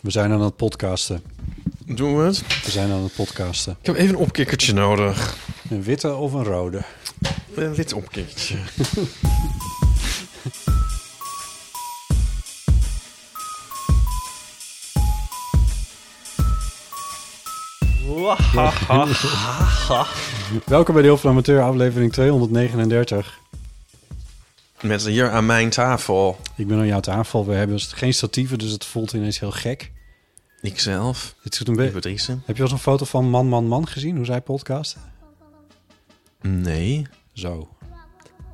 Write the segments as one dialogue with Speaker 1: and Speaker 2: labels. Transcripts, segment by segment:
Speaker 1: We zijn aan het podcasten.
Speaker 2: Doen we het?
Speaker 1: We zijn aan het podcasten.
Speaker 2: Ik heb even een opkikkertje nodig.
Speaker 1: Een witte of een rode?
Speaker 2: Een wit opkikkertje.
Speaker 1: Welkom bij de Heel van Amateur, aflevering 239.
Speaker 2: Met hier aan mijn tafel.
Speaker 1: Ik ben aan jouw tafel. We hebben geen statieven, dus het voelt ineens heel gek.
Speaker 2: Ikzelf.
Speaker 1: Dit zit een beetje...
Speaker 2: Patrice.
Speaker 1: Heb je al zo'n foto van Man, Man, Man gezien? Hoe zij podcasten?
Speaker 2: Nee.
Speaker 1: Zo.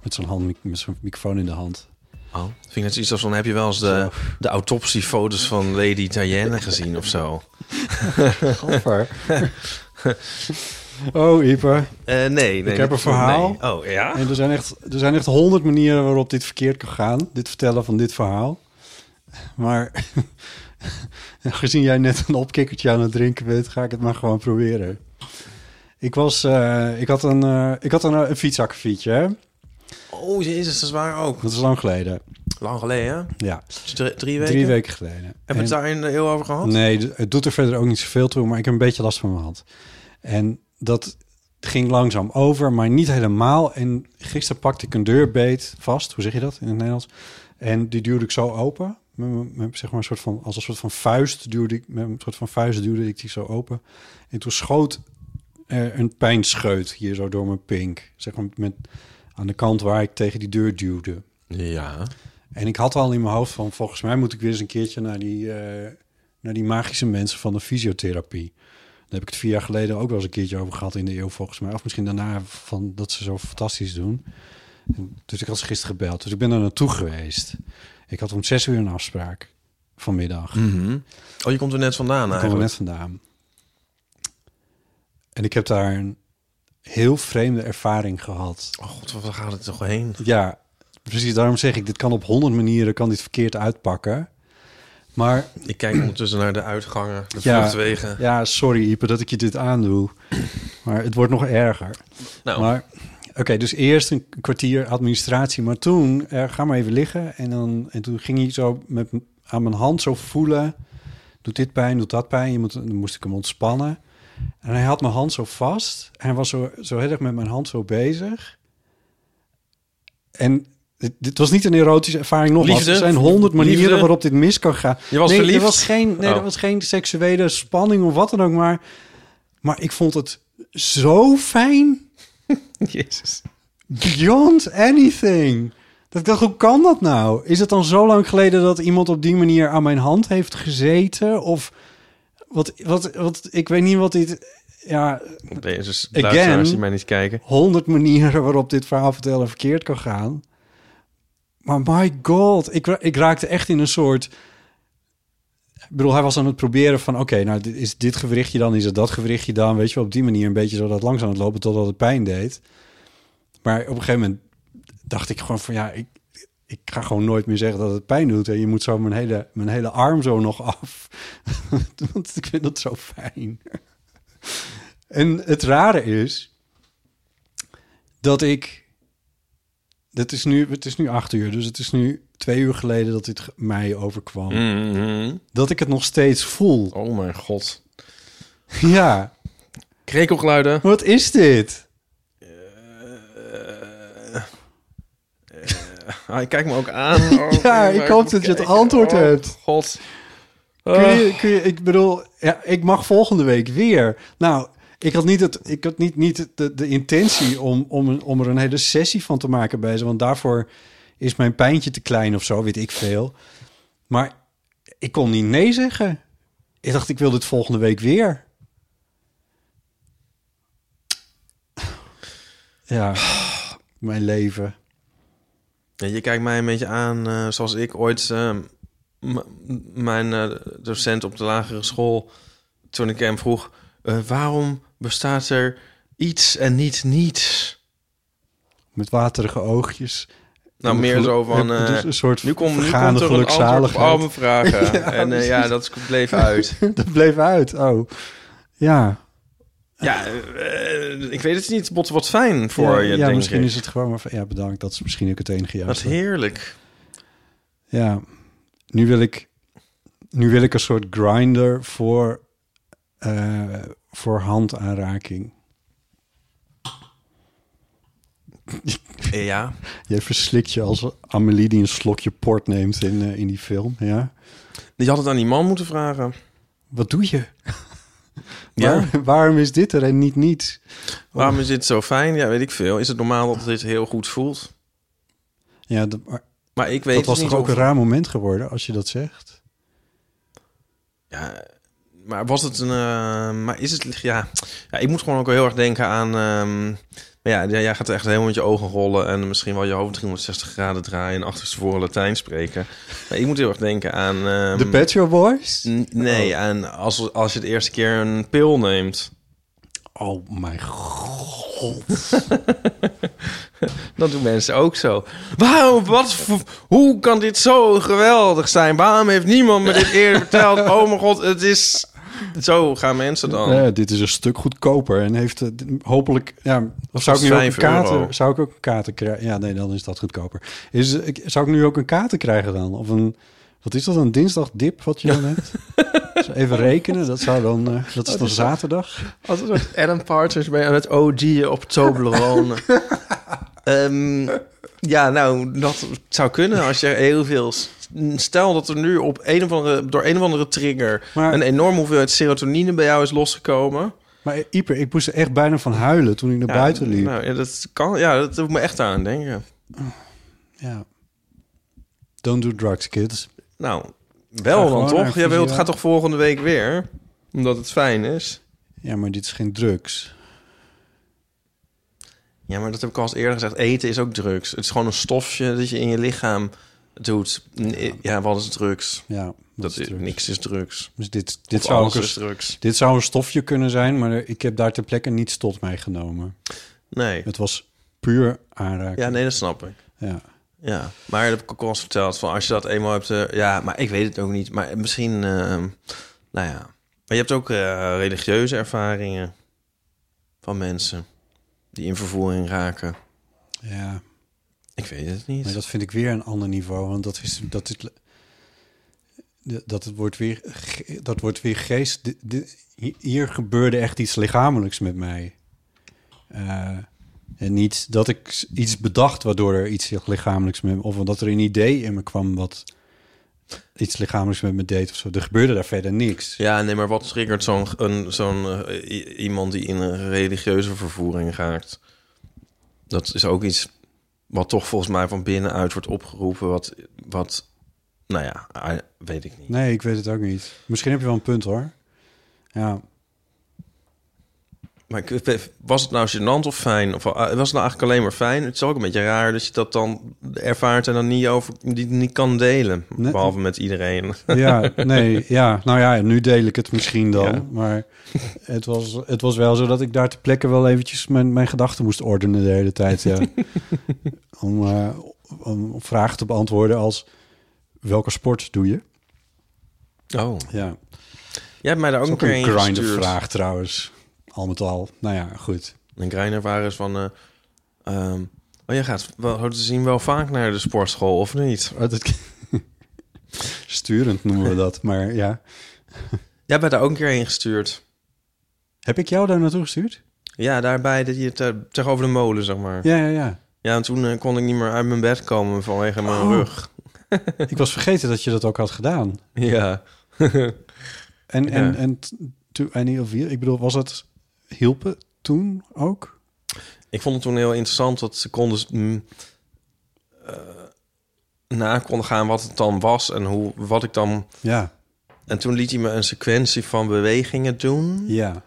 Speaker 1: Met zo'n hand- met zo'n microfoon in de hand.
Speaker 2: Oh. Vind ik net iets als van, heb je wel eens de, de autopsiefoto's van Lady Diana gezien of zo?
Speaker 1: Gaffer. oh, Ieper.
Speaker 2: Eh, nee, nee.
Speaker 1: heb
Speaker 2: dat-
Speaker 1: een verhaal.
Speaker 2: nee. Oh, ja?
Speaker 1: En er zijn echt er zijn echt honderd manieren waarop dit verkeerd kan gaan. Dit vertellen van dit verhaal. Maar gezien jij net een opkikkertje aan het drinken bent, ga ik het maar gewoon proberen. Ik, was, eh, ik had een, eh, ik had een, eh, een fietsakkefietje, hè?
Speaker 2: Oh, jezus, dat is waar ook.
Speaker 1: Dat is lang geleden.
Speaker 2: Lang geleden, hè?
Speaker 1: Ja,
Speaker 2: Dus Drie, drie weken?
Speaker 1: drie weken geleden.
Speaker 2: Hebben
Speaker 1: En-
Speaker 2: we het daar heel over gehad?
Speaker 1: Nee, d- het doet er verder ook niet zoveel toe, maar ik heb een beetje last van mijn hand. En dat ging langzaam over, maar niet helemaal. En gisteren pakte ik een deurbeet vast, hoe zeg je dat in het Nederlands? En die duwde ik zo open, met, mijn- met, zeg maar een soort van, als een soort van vuist duwde ik, met een soort van vuist duwde ik die zo open. En toen schoot er een pijnscheut hier zo door mijn pink, zeg maar met, aan de kant waar ik tegen die deur duwde.
Speaker 2: Ja.
Speaker 1: En ik had al in mijn hoofd van volgens mij moet ik weer eens een keertje naar die, eh, naar die magische mensen van de fysiotherapie. Daar heb ik het vier jaar geleden ook wel eens een keertje over gehad in de eeuw volgens mij. Of misschien daarna van dat ze zo fantastisch doen. En Dus ik had ze gisteren gebeld. Dus ik ben daar naartoe geweest. Ik had om zes uur een afspraak vanmiddag.
Speaker 2: Oh, je komt er net vandaan
Speaker 1: Ik kom er
Speaker 2: eigenlijk.
Speaker 1: net vandaan. En ik heb daar een heel vreemde ervaring gehad.
Speaker 2: Oh god, waar gaat het toch heen?
Speaker 1: Ja, precies. Daarom zeg ik, dit kan op honderd manieren kan dit verkeerd uitpakken. Maar
Speaker 2: Ik kijk ondertussen naar de uitgangen, de
Speaker 1: Ja.
Speaker 2: vluchtwegen.
Speaker 1: ja, sorry Ipe dat ik je dit aandoe. Maar het wordt nog erger.
Speaker 2: Nou,
Speaker 1: Maar oké, dus eerst een kwartier administratie. Maar toen, eh, ga maar even liggen. En, dan, en toen ging hij zo met, m- aan mijn hand zo voelen. Doet dit pijn, doet dat pijn. Je moet, dan moest ik hem ontspannen. En hij had mijn hand zo vast. Hij was zo, zo heel erg met mijn hand zo bezig. En dit, dit was niet een erotische ervaring nogmaals.
Speaker 2: Liefde?
Speaker 1: Er zijn honderd manieren
Speaker 2: Liefde?
Speaker 1: waarop dit mis kan gaan.
Speaker 2: Je was
Speaker 1: nee,
Speaker 2: verliefd?
Speaker 1: Er was geen, nee,
Speaker 2: Oh.
Speaker 1: er was geen seksuele spanning of wat dan ook. Maar, maar ik vond het zo fijn
Speaker 2: jezus.
Speaker 1: beyond anything. Dat ik dacht, hoe kan dat nou? Is het dan zo lang geleden dat iemand op die manier aan mijn hand heeft gezeten? Of wat, wat, wat ik weet niet wat dit. Ja,
Speaker 2: Jezus,
Speaker 1: Again.
Speaker 2: luisteraars die mij niet kijken.
Speaker 1: honderd manieren waarop dit verhaal vertellen verkeerd kan gaan. Maar my god, ik, ra- ik raakte echt in een soort... Ik bedoel, hij was aan het proberen van... oké, nou, dit, is dit gewrichtje dan, is het dat gewrichtje dan? Weet je wel, op die manier een beetje zo dat langs aan het lopen... totdat het pijn deed. Maar op een gegeven moment dacht ik gewoon van... ja, ik, ik ga gewoon nooit meer zeggen dat het pijn doet. En je moet zo mijn hele, mijn hele arm zo nog af. Want ik vind dat zo fijn. en het rare is dat ik. Het is, nu, het is nu acht uur, dus het is nu twee uur geleden dat dit ge- mij overkwam.
Speaker 2: Mm. Mm-hmm.
Speaker 1: Dat ik het nog steeds voel.
Speaker 2: Oh mijn god.
Speaker 1: Ja,
Speaker 2: Krekelgeluiden.
Speaker 1: wat is dit?
Speaker 2: Hij kijkt Ah, me ook aan. Oh,
Speaker 1: Ja,
Speaker 2: oh,
Speaker 1: ik hoop dat je het antwoord
Speaker 2: oh,
Speaker 1: hebt.
Speaker 2: God. Ah.
Speaker 1: Kun je, kun je, ik bedoel, ja, ik mag volgende week weer. Nou, ik had niet, het, ik had niet, niet de, de intentie om, om, een- om er een hele sessie van te maken bij ze. Want daarvoor is mijn pijntje te klein of zo, weet ik veel. Maar ik kon niet nee zeggen. Ik dacht, ik wil dit volgende week weer. Ja, mijn leven.
Speaker 2: Ja, je kijkt mij een beetje aan eh, zoals ik ooit eh, m- mijn eh, docent op de lagere school, toen ik hem vroeg, eh, waarom bestaat er iets en niet niets?
Speaker 1: Met waterige oogjes.
Speaker 2: Nou, meer zo van,
Speaker 1: Heb-
Speaker 2: eh,
Speaker 1: dus een soort
Speaker 2: nu, komt nu
Speaker 1: vergane
Speaker 2: komt er een antwoord op
Speaker 1: gelukzaligheid.
Speaker 2: al mijn vragen. en eh, ja, dat bleef uit.
Speaker 1: Dat bleef uit. Oh, ja.
Speaker 2: ja, eh, ik weet het niet. Bot, wat fijn voor
Speaker 1: ja,
Speaker 2: je,
Speaker 1: ja,
Speaker 2: denk
Speaker 1: misschien
Speaker 2: ik.
Speaker 1: is het gewoon maar van, ja, bedankt. Dat is misschien ook het enige
Speaker 2: Wat
Speaker 1: juiste.
Speaker 2: heerlijk.
Speaker 1: Ja, nu wil ik, nu wil ik een soort grinder voor, eh, voor handaanraking.
Speaker 2: Eh, Ja,
Speaker 1: Jij verslikt je als Amelie die een slokje port neemt in, eh, in die film. Ja.
Speaker 2: je had het aan die man moeten vragen.
Speaker 1: Oh. Wat doe je?
Speaker 2: Ja.
Speaker 1: Waar- waarom is dit er en niet niet?
Speaker 2: Waarom is dit zo fijn? Ja, weet ik veel. Is het normaal dat dit heel goed voelt?
Speaker 1: Ja, dat, maar
Speaker 2: Maar ik weet
Speaker 1: dat was
Speaker 2: het niet
Speaker 1: toch ook
Speaker 2: of-
Speaker 1: een raar moment geworden als je dat zegt?
Speaker 2: Ja, maar was het een... eh, maar is het... Ja, ja, ik moet gewoon ook heel erg denken aan... ehm, maar ja, jij- jij gaat echt helemaal met je ogen rollen... en misschien wel je hoofd 360 graden draaien... en achterstevoren Latijn spreken. Maar ik moet heel erg denken aan... ehm,
Speaker 1: De Pet Shop Boys?
Speaker 2: n- Nee, aan als, als je de eerste keer een pil neemt.
Speaker 1: Oh mijn god.
Speaker 2: Dat doen mensen ook zo. Waarom, wat, voor- hoe kan dit zo geweldig zijn? Waarom heeft niemand me dit eerder verteld? Oh mijn god, het is... Zo gaan mensen dan.
Speaker 1: Ja, dit is een stuk goedkoper en heeft eh, d- hopelijk... Ja, of zou ik nu ook een
Speaker 2: 5 euro.
Speaker 1: kater, zou ik ook een kater krijgen? Ja, nee, dan is dat goedkoper. Is, ik- zou ik nu ook een kater krijgen dan? Of een... Wat is dat, een dinsdagdip wat je dan hebt? Dus Even rekenen, dat zou dan... eh,
Speaker 2: Oh,
Speaker 1: dat is dan zaterdag.
Speaker 2: Als een soort Adam Partners bij met OG op Toblerone. Ehm, ja, nou, dat zou kunnen als je heel veel... Stel dat er nu op een of andere, door een of andere trigger...
Speaker 1: Maar-
Speaker 2: een enorme hoeveelheid serotonine bij jou is losgekomen.
Speaker 1: Maar eh, Ieper, ik moest er echt bijna van huilen toen ik naar
Speaker 2: Ja,
Speaker 1: buiten liep.
Speaker 2: Nou, ja, dat kan, ja, dat doet me echt aan denken.
Speaker 1: Ja. Don't do drugs, kids.
Speaker 2: Nou,
Speaker 1: Ga
Speaker 2: wel
Speaker 1: gewoon
Speaker 2: dan
Speaker 1: naar een
Speaker 2: toch? Jij wilt,
Speaker 1: fysio.
Speaker 2: gaat toch volgende week weer? Omdat het fijn is.
Speaker 1: Ja, maar dit is geen drugs.
Speaker 2: Ja, maar dat heb ik al eens eerder gezegd. Eten is ook drugs. Het is gewoon een stofje dat je in je lichaam doet. N- Ja, wat is drugs?
Speaker 1: Ja, dat,
Speaker 2: Dat
Speaker 1: is
Speaker 2: is,
Speaker 1: drugs.
Speaker 2: niks is drugs.
Speaker 1: Dus dit, dit,
Speaker 2: Of
Speaker 1: zou ook
Speaker 2: alles
Speaker 1: een,
Speaker 2: is drugs.
Speaker 1: dit zou een stofje kunnen zijn, maar ik heb daar ter plekke niets tot mij genomen.
Speaker 2: Nee.
Speaker 1: Het was puur aanraken.
Speaker 2: Ja, nee, dat snap ik.
Speaker 1: Ja.
Speaker 2: Ja, maar dat heb ik ook al eens verteld. Van als je dat eenmaal hebt... eh, ja, maar ik weet het ook niet. Maar misschien... ehm, nou ja. Maar je hebt ook eh, religieuze ervaringen van mensen die in vervoering raken.
Speaker 1: Ja.
Speaker 2: Ik weet het niet.
Speaker 1: maar dat vind ik weer een ander niveau, want dat is dat is dat het wordt weer ge- dat wordt weer geest. De- de- hi- hier gebeurde echt iets lichamelijks met mij. Eh, en niet dat ik s- iets bedacht waardoor er iets lichamelijks met me, of dat er een idee in me kwam wat iets lichamelijks met me deed of zo. Er gebeurde daar verder niks.
Speaker 2: Ja, nee, maar wat triggert zo'n een- zo'n eh, i- iemand die in een religieuze vervoering raakt? Dat is ook iets wat toch volgens mij van binnenuit wordt opgeroepen. Wat, wat nou ja, ah, weet ik niet.
Speaker 1: Nee, ik weet het ook niet. Misschien heb je wel een punt hoor. Ja.
Speaker 2: Maar ik- was het nou gênant of fijn? Of ah, was het nou eigenlijk alleen maar fijn? Het is ook een beetje raar dat je dat dan ervaart en dan niet, over, niet, niet kan delen.
Speaker 1: Nee.
Speaker 2: Behalve met iedereen.
Speaker 1: Ja, nee, ja. Nou ja, nu deel ik het misschien dan.
Speaker 2: Ja.
Speaker 1: Maar het was, het was wel zo dat ik daar ter plekke wel eventjes mijn, mijn gedachten moest ordenen de hele tijd. Ja. om, eh, om vragen te beantwoorden als... Welke sport doe je?
Speaker 2: Oh.
Speaker 1: Ja,
Speaker 2: Jij hebt mij daar ook,
Speaker 1: dat is ook
Speaker 2: nog een
Speaker 1: een
Speaker 2: keer heen
Speaker 1: grinder
Speaker 2: gestuurd.
Speaker 1: vraag trouwens. Al met al. Nou ja, goed.
Speaker 2: Een grinder waren is van... eh, ehm, oh, jij gaat wel, zo te zien wel vaak naar de sportschool, of niet?
Speaker 1: Maar dat- Sturend noemen we dat, maar ja.
Speaker 2: Jij bent daar ook een keer heen gestuurd.
Speaker 1: Heb ik jou daar naartoe gestuurd?
Speaker 2: Ja, daarbij dat je te- tegenover de molen, zeg maar. Ja,
Speaker 1: Ja, ja, ja.
Speaker 2: en toen eh, kon ik niet meer uit mijn bed komen vanwege mijn
Speaker 1: Oh.
Speaker 2: rug.
Speaker 1: Ik was vergeten dat je dat ook had gedaan.
Speaker 2: Ja.
Speaker 1: En, en,
Speaker 2: Ja.
Speaker 1: en t- to any of you, ik bedoel, was het hielpen toen ook?
Speaker 2: Ik vond het toen heel interessant dat ze konden mm, eh, na konden gaan wat het dan was en hoe, wat ik dan
Speaker 1: Ja,
Speaker 2: En toen liet hij me een sequentie van bewegingen doen...
Speaker 1: Ja.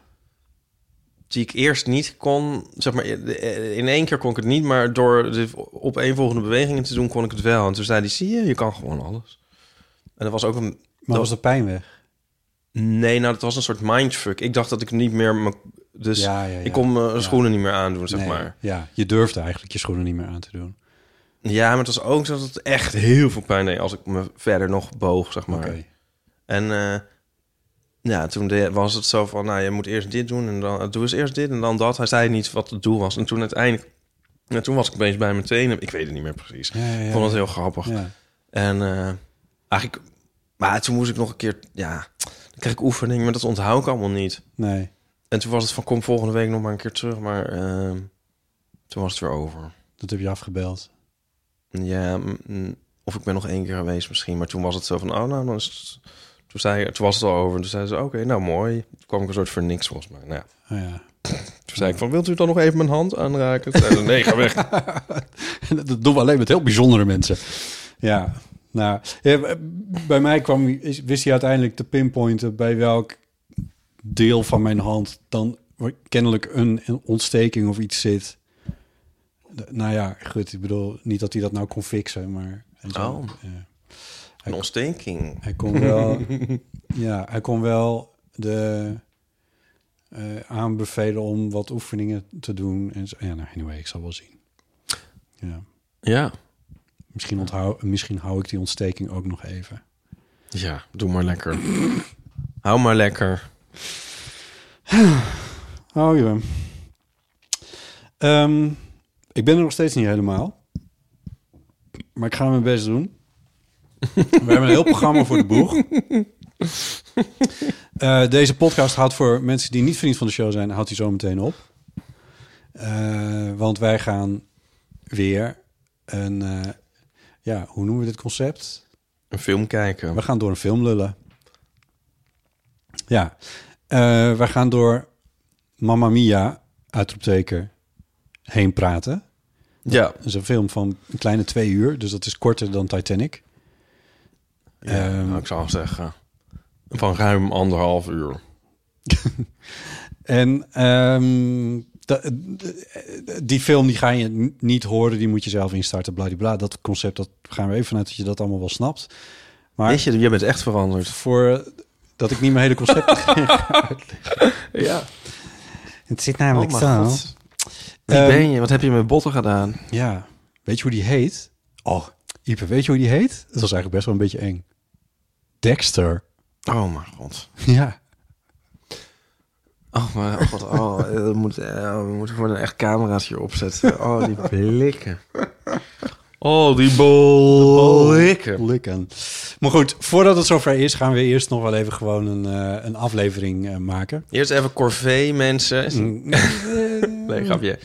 Speaker 2: die ik eerst niet kon. Zeg maar, in één keer kon ik het niet, maar door de opeenvolgende bewegingen te doen, kon ik het wel. En toen zei hij: Zie je, je kan gewoon alles. En dat was ook een.
Speaker 1: Maar
Speaker 2: dat
Speaker 1: was de pijn weg?
Speaker 2: Nee, nou, dat was een soort mindfuck. Ik dacht dat ik niet meer. me- Dus
Speaker 1: Ja, ja, ja.
Speaker 2: ik kon mijn
Speaker 1: Ja.
Speaker 2: schoenen niet meer aandoen, zeg
Speaker 1: Nee.
Speaker 2: maar.
Speaker 1: Ja, je durfde eigenlijk je schoenen niet meer aan te doen.
Speaker 2: Ja, maar het was ook zo dat het echt heel veel pijn deed als ik me verder nog boog, zeg maar.
Speaker 1: Oké.
Speaker 2: En eh, ja, toen de- was het zo van, nou, je moet eerst dit doen en dan doe eens eerst dit en dan dat. Hij zei niet wat het doel was. En toen uiteindelijk, ja, toen was ik opeens bij mijn tenen. Ik weet het niet meer precies.
Speaker 1: Ja, ja, ja.
Speaker 2: Ik vond het heel grappig.
Speaker 1: Ja.
Speaker 2: En eh, eigenlijk, maar toen moest ik nog een keer, ja, dan kreeg ik oefening, maar dat onthoud ik allemaal niet.
Speaker 1: Nee.
Speaker 2: En toen was het van, kom volgende week nog maar een keer terug, maar ehm, toen was het weer over.
Speaker 1: Dat heb je afgebeld.
Speaker 2: Ja, mm, mm, of ik ben nog één keer geweest misschien. Maar toen was het zo van, oh nou, dan is het... Toen, zei, toen was het al over. En toen zei ze, oké, nou mooi. Toen kwam ik een soort voor niks volgens mij. Nou, ja.
Speaker 1: Oh, ja.
Speaker 2: toen zei ik van, wilt u dan nog even mijn hand aanraken? Toen zei ze, nee, ga weg.
Speaker 1: dat doen we alleen met heel bijzondere mensen. Ja, nou, ja, bij mij kwam, is- wist hij uiteindelijk te pinpointen bij welk deel van mijn hand dan kennelijk een, een ontsteking of iets zit. D- Nou ja, goed, ik bedoel niet dat hij dat nou kon fixen, maar. en zo.
Speaker 2: Oh.
Speaker 1: Ja.
Speaker 2: Een ontsteking.
Speaker 1: Hij kon wel, ja, hij kon wel de eh, aanbevelen om wat oefeningen te doen. En zo. Ja, nou, anyway, ik zal wel zien. Ja.
Speaker 2: Ja.
Speaker 1: Misschien, onthou, misschien hou ik die ontsteking ook nog even.
Speaker 2: Ja, doe maar lekker. Hou maar lekker.
Speaker 1: Oh ja. Ehm, ik ben er nog steeds niet helemaal. Maar ik ga mijn best doen. We hebben een heel programma voor de boeg. Eh, deze podcast houdt voor mensen die niet vriend van de show zijn, houdt hij zo meteen op. Eh, want wij gaan weer een, eh, ja, hoe noemen we dit concept?
Speaker 2: Een film kijken.
Speaker 1: We gaan door een film lullen. Ja. Eh, we gaan door Mamma Mia, uitroepteken, heen praten.
Speaker 2: Ja.
Speaker 1: Dat is een film van een kleine twee uur, dus dat is korter dan Titanic.
Speaker 2: Ja,
Speaker 1: Ehm.
Speaker 2: nou, ik zou zeggen, van ruim anderhalf uur.
Speaker 1: En ehm, da- eh, die film die ga je n- niet horen, die moet je zelf instarten, bladibla. Dat concept, dat gaan we even vanuit dat je dat allemaal wel snapt. Maar
Speaker 2: Weet je, je bent echt veranderd.
Speaker 1: voor eh, dat ik niet mijn hele concept
Speaker 2: Ja.
Speaker 1: Het zit
Speaker 2: Oh, mijn god. Wie
Speaker 1: Ehm,
Speaker 2: ben je? Wat heb je met botten gedaan?
Speaker 1: Ja. Weet je hoe die heet? Oh, Ipe, weet je hoe die heet? Dat was eigenlijk best wel een beetje eng. Dexter.
Speaker 2: Oh mijn god.
Speaker 1: Ja.
Speaker 2: Oh mijn god. Oh, eh, we moeten, eh, we moeten gewoon een echt camera's hier opzetten. Oh, die blikken. Oh, die blikken.
Speaker 1: Likken. Maar goed, voordat het zover is, gaan we eerst nog wel even gewoon een, eh, een aflevering eh, maken.
Speaker 2: Eerst even corvée, mensen.
Speaker 1: Mm.
Speaker 2: Nee, grapje.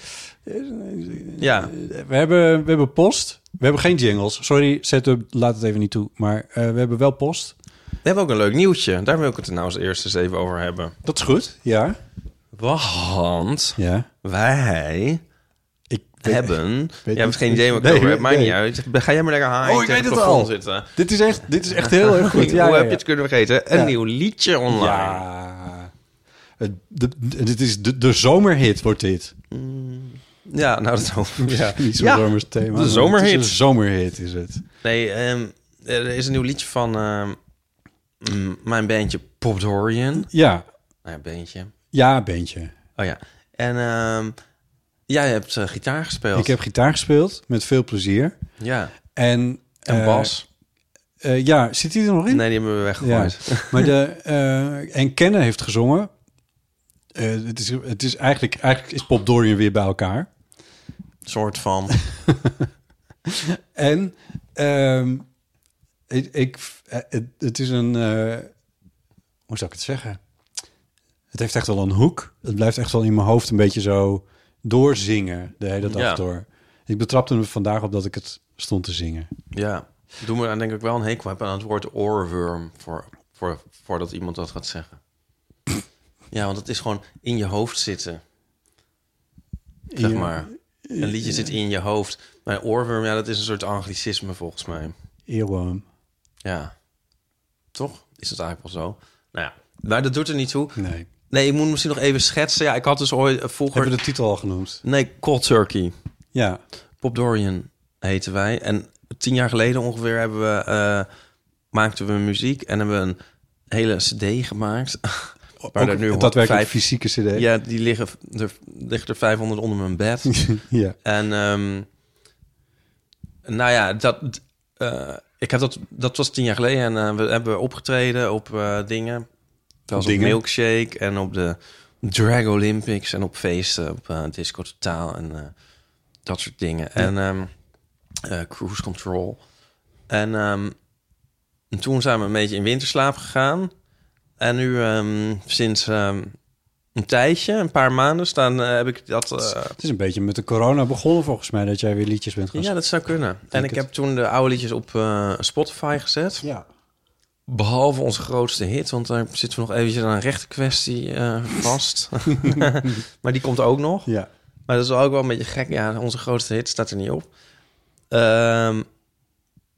Speaker 2: Ja,
Speaker 1: we, hebben, we hebben post. We hebben geen jingles. Sorry, setup, laat het even niet toe. Maar eh, we hebben wel post.
Speaker 2: we hebben ook een leuk nieuwtje. Daar wil ik het er nou als eerste eens even over hebben.
Speaker 1: Dat is goed. Ja.
Speaker 2: Want
Speaker 1: Ja.
Speaker 2: wij
Speaker 1: Ik
Speaker 2: hebben... Jij hebt
Speaker 1: niet-
Speaker 2: geen idee wat ik
Speaker 1: Nee,
Speaker 2: het over heb. Maakt
Speaker 1: nee.
Speaker 2: niet uit. Ga jij maar lekker high
Speaker 1: Oh, ik
Speaker 2: tegen
Speaker 1: weet het
Speaker 2: plafond
Speaker 1: al.
Speaker 2: zitten.
Speaker 1: Dit is echt, dit is echt heel erg goed. Ja,
Speaker 2: Hoe
Speaker 1: ja,
Speaker 2: heb je
Speaker 1: ja.
Speaker 2: het kunnen vergeten? Een
Speaker 1: Ja.
Speaker 2: nieuw liedje online.
Speaker 1: Ja. Het- de- de- dit is de, de zomerhit wordt dit.
Speaker 2: Ja, nou dat ook.
Speaker 1: Ja, niet zo'n
Speaker 2: Ja,
Speaker 1: zomers thema.
Speaker 2: de zomerhit.
Speaker 1: Het is een zomerhit is het.
Speaker 2: Nee, ehm, er is een nieuw liedje van ehm, mm, mijn bandje Pop Dorian.
Speaker 1: Ja,
Speaker 2: Nou ja, bandje.
Speaker 1: ja, bandje.
Speaker 2: Oh ja. En ehm, jij hebt eh, gitaar gespeeld.
Speaker 1: Ik heb gitaar gespeeld met veel plezier.
Speaker 2: Ja.
Speaker 1: En,
Speaker 2: En
Speaker 1: eh,
Speaker 2: Bas.
Speaker 1: eh, ja, zit hij er nog in?
Speaker 2: Nee, die hebben we
Speaker 1: ja.
Speaker 2: weggegooid.
Speaker 1: maar de, eh, en Kennen heeft gezongen. Eh, het, is, het is eigenlijk, eigenlijk is Pop Dorian weer bij elkaar.
Speaker 2: soort van.
Speaker 1: En ehm, ik, ik, eh, het, het is een, eh, hoe zou ik het zeggen? Het heeft echt wel een hoek. Het blijft echt wel in mijn hoofd een beetje zo doorzingen de hele dag
Speaker 2: Ja.
Speaker 1: door. Ik betrapte me vandaag op dat ik het stond te zingen.
Speaker 2: ja. Doe me dan denk ik wel een hekel hebben aan het woord oorworm voor, voor, voordat iemand dat gaat zeggen. Ja, want het is gewoon in je hoofd zitten. Zeg
Speaker 1: Ja.
Speaker 2: maar. Een liedje zit in je hoofd. Maar oorworm, ja, dat is een soort anglicisme volgens mij.
Speaker 1: Earworm.
Speaker 2: Ja. Toch? is dat eigenlijk wel zo. Nou ja, maar dat doet er niet toe.
Speaker 1: Nee.
Speaker 2: Nee, ik moet misschien nog even schetsen. Ja, ik had dus ooit eh, vroeger...
Speaker 1: Hebben we de titel al genoemd?
Speaker 2: Nee, Cold Turkey.
Speaker 1: Ja.
Speaker 2: Pop Dorian heten wij. En tien jaar geleden ongeveer hebben we, eh, maakten we muziek en hebben we een hele cd gemaakt. Waar er nu
Speaker 1: dat werkt
Speaker 2: vijf-
Speaker 1: fysieke cd.
Speaker 2: Ja, die liggen er, liggen er 500 onder mijn bed.
Speaker 1: ja.
Speaker 2: En ehm, nou ja, dat, eh, ik heb dat, dat was tien jaar geleden. En eh, we hebben opgetreden op eh, dingen. Zoals op
Speaker 1: dingen?
Speaker 2: Milkshake en op de Drag Olympics en op feesten, op eh, Disco Totaal en eh, dat soort dingen. En ehm, eh, Cruise Control. En ehm, en toen zijn we een beetje in winterslaap gegaan. En nu ehm, sinds ehm, een tijdje, een paar maanden, staan, eh, heb ik dat... eh,
Speaker 1: Het is een beetje met de corona begonnen volgens mij dat jij weer liedjes bent gaan
Speaker 2: ja, dat zou kunnen. En
Speaker 1: denk
Speaker 2: ik
Speaker 1: het.
Speaker 2: heb toen de oude liedjes op eh, Spotify gezet.
Speaker 1: ja.
Speaker 2: Behalve onze grootste hit, want daar zitten we nog eventjes aan een rechte kwestie eh, vast. maar die komt ook nog.
Speaker 1: Ja.
Speaker 2: Maar dat is ook wel een beetje gek. Ja, onze grootste hit staat er niet op. Ehm,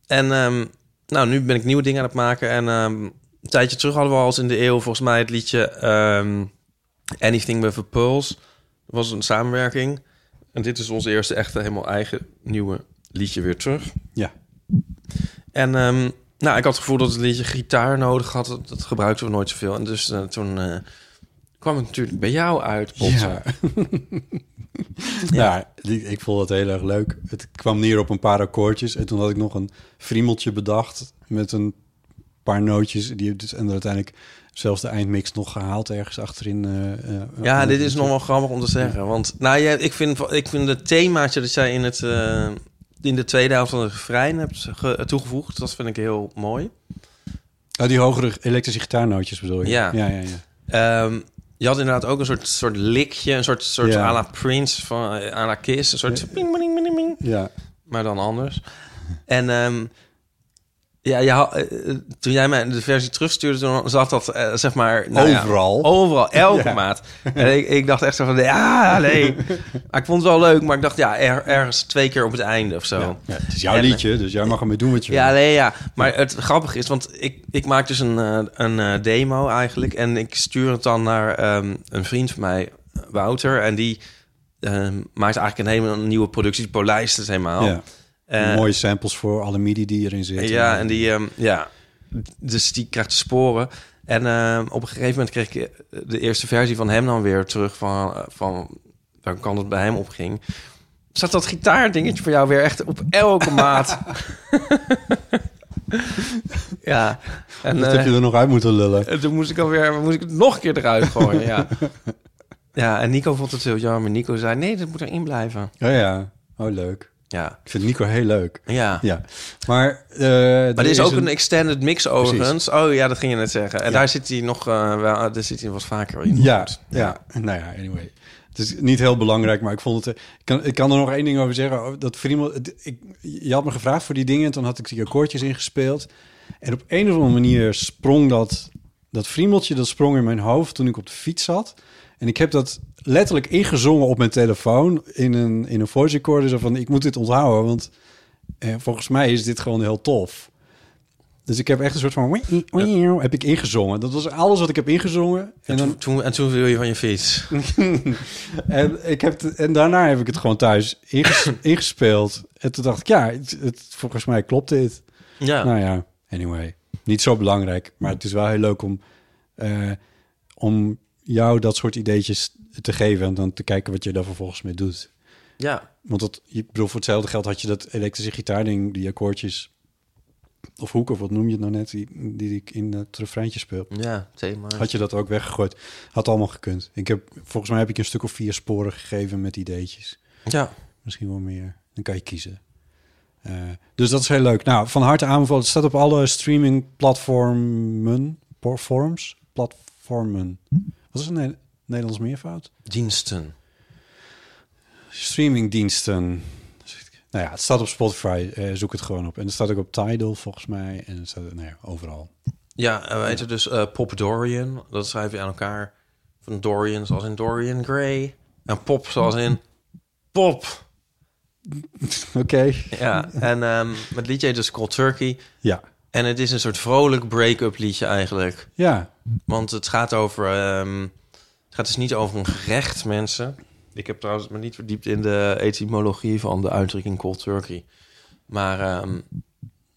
Speaker 2: en ehm, nou, nu ben ik nieuwe dingen aan het maken. En ehm, een tijdje terug hadden we al eens in de eeuw volgens mij het liedje ehm, Anything With A Pulse. Dat was een samenwerking. En dit is ons eerste echte helemaal eigen nieuwe liedje weer terug.
Speaker 1: Ja.
Speaker 2: En ehm, nou, ik had het gevoel dat het liedje gitaar nodig had. Dat, dat gebruikten we nooit zoveel. En dus eh, toen eh, kwam het natuurlijk bij jou uit, Potter.
Speaker 1: Ja. ja, Nou, die- ik vond het heel erg leuk. Het kwam neer op een paar akkoordjes. En toen had ik nog een friemeltje bedacht met een paar nootjes. Die, heb ik dus- en uiteindelijk zelfs de eindmix nog gehaald ergens achterin. eh, eh,
Speaker 2: Ja,
Speaker 1: op-
Speaker 2: dit is nog wel grappig om te zeggen. Want nou, jij, ik, vind, ik vind het themaatje dat jij in, het, eh, in de tweede helft van het refrein hebt ge- toegevoegd... dat vind ik heel mooi.
Speaker 1: Oh, die hogere elektrische gitaarnootjes bedoel je?
Speaker 2: Ja.
Speaker 1: Ja, ja, ja.
Speaker 2: Ehm, je had inderdaad ook een soort, soort likje, een soort, soort
Speaker 1: Ja.
Speaker 2: à la Prince, van, eh, à la Kiss. Een soort ping, ping, ping, ping.
Speaker 1: ja.
Speaker 2: maar dan anders. En ehm, ja, je had- eh, eh, toen jij mij de versie terugstuurde, toen zat dat eh, zeg maar... nou ja,
Speaker 1: Overal.
Speaker 2: overal, elke
Speaker 1: Ja.
Speaker 2: maat. En ik, ik dacht echt zo van, ja, nee. maar ik vond het wel leuk, maar ik dacht, ja, er- ergens twee keer op het einde of zo.
Speaker 1: Ja. Ja, het is jouw
Speaker 2: En, eh,
Speaker 1: liedje, dus jij mag ermee doen wat je
Speaker 2: Ja,
Speaker 1: wil.
Speaker 2: nee, ja. Maar het grappige is, want ik, ik maak dus een, eh, een eh, demo eigenlijk. En ik stuur het dan naar ehm, een vriend van mij, Wouter. En die ehm, maakt eigenlijk een hele nieuwe productie. Die polijst het helemaal.
Speaker 1: Ja.
Speaker 2: Eh,
Speaker 1: Mooie samples voor alle midi die erin zitten.
Speaker 2: ja, en die, ehm, ja, dus die krijgt de sporen. En ehm, op een gegeven moment kreeg ik eh, de eerste versie van hem dan weer terug van, eh, van welke kant het bij hem opging. Zat dat gitaardingetje voor jou weer echt op elke maat? ja. En,
Speaker 1: dat
Speaker 2: eh,
Speaker 1: heb je er nog uit moeten lullen.
Speaker 2: en toen moest ik alweer, moest ik het nog een keer eruit gooien. ja. ja, en Nico vond het heel jammer. Nico zei, nee, dat moet erin blijven.
Speaker 1: Ja, ja. Oh, leuk.
Speaker 2: Ja,
Speaker 1: Ik vind Nico heel leuk.
Speaker 2: ja.
Speaker 1: Ja, maar... eh, er
Speaker 2: Maar er is, ook een, extended mix overigens. Oh ja, dat ging je net zeggen. En
Speaker 1: Ja.
Speaker 2: daar zit hij nog eh, wel, daar zit hij wat vaker in.
Speaker 1: Ja, ja, nou ja, anyway. Het is niet heel belangrijk, maar ik vond het... eh, Ik kan, ik kan er nog één ding over zeggen. Oh, Dat Friemel, het- ik, je had me gevraagd voor die dingen... en toen had ik die akkoordjes ingespeeld. En op een of andere manier sprong dat... Dat friemeltje, dat sprong in mijn hoofd toen ik op de fiets zat. En ik heb dat letterlijk ingezongen op mijn telefoon... in een, in een voice recorder. Zo van, ik moet dit onthouden, want... eh, volgens mij is dit gewoon heel tof. Dus ik heb echt een soort van... heb ik ingezongen. Dat was alles wat ik heb ingezongen.
Speaker 2: En, toen, toen, en toen viel je van je fiets.
Speaker 1: En, ik heb het- en daarna heb ik het gewoon thuis inges- ingespeeld. En toen dacht ik, ja, het, het- volgens mij klopt dit.
Speaker 2: Ja.
Speaker 1: Nou ja, anyway. Niet zo belangrijk, maar het is wel heel leuk om, eh, om jou dat soort ideetjes te geven... en dan te kijken wat je daar vervolgens mee doet.
Speaker 2: ja.
Speaker 1: Want dat, ik bedoel, voor hetzelfde geld had je dat elektrische gitaarding, die akkoordjes... of hoeken, wat noem je het nou net, die, die ik in het refreintje speel...
Speaker 2: Ja, thema.
Speaker 1: Had je dat ook weggegooid? Had allemaal gekund. Ik heb, volgens mij heb ik een stuk of vier sporen gegeven met ideetjes.
Speaker 2: Ja.
Speaker 1: Misschien wel meer. Dan kan je kiezen. Eh, dus dat is heel leuk. Nou, van harte aanbevolen. Het staat op alle streamingplatformen. Platforms? Platformen. Wat is een Ne- Nederlands meervoud?
Speaker 2: Diensten.
Speaker 1: Streamingdiensten. Nou ja, het staat op Spotify. Eh, zoek het gewoon op. En het staat ook op Tidal, volgens mij. En het staat nou ja, overal.
Speaker 2: Ja, en we heten dus eh, Pop Dorian. Dat schrijf je aan elkaar. Van Dorian, zoals in Dorian Gray. En Pop, zoals in Pop.
Speaker 1: Oké.
Speaker 2: Ja, en ehm het liedje heet dus Cold Turkey.
Speaker 1: Ja.
Speaker 2: En het is een soort vrolijk break-up liedje eigenlijk.
Speaker 1: Ja,
Speaker 2: Want het gaat over. ehm, het gaat dus niet over een gerecht, mensen. Ik heb trouwens me niet verdiept in de etymologie van de uitdrukking cold turkey. Maar ehm,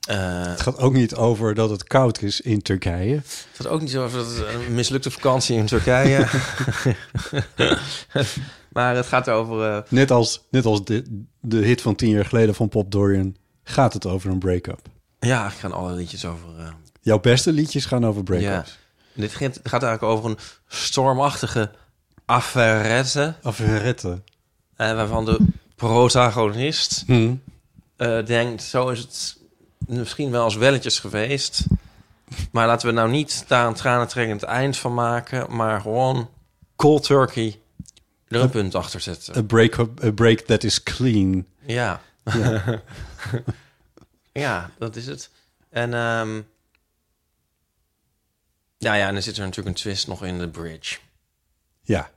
Speaker 2: eh,
Speaker 1: het gaat ook niet over dat het koud is in Turkije.
Speaker 2: het gaat ook niet zo over dat het een mislukte vakantie in Turkije. maar het gaat over. eh,
Speaker 1: Net als, net als de, de hit van tien jaar geleden van Pop Dorian gaat het over een break-up.
Speaker 2: ja, ik gaan alle liedjes over. eh,
Speaker 1: Jouw beste liedjes gaan over break-ups.
Speaker 2: Dit gaat gaat eigenlijk over een stormachtige affairette.
Speaker 1: Afretten.
Speaker 2: eh, waarvan de protagonist eh, denkt... zo is het misschien wel als welletjes geweest. Maar laten we nou niet daar een tranentrekkend eind van maken... maar gewoon cold turkey er een punt achter zetten.
Speaker 1: A, break-up, a break that is clean.
Speaker 2: Ja. ja, dat is het. En ehm, ja, ja, en dan zit er natuurlijk een twist nog in de bridge.
Speaker 1: Ja,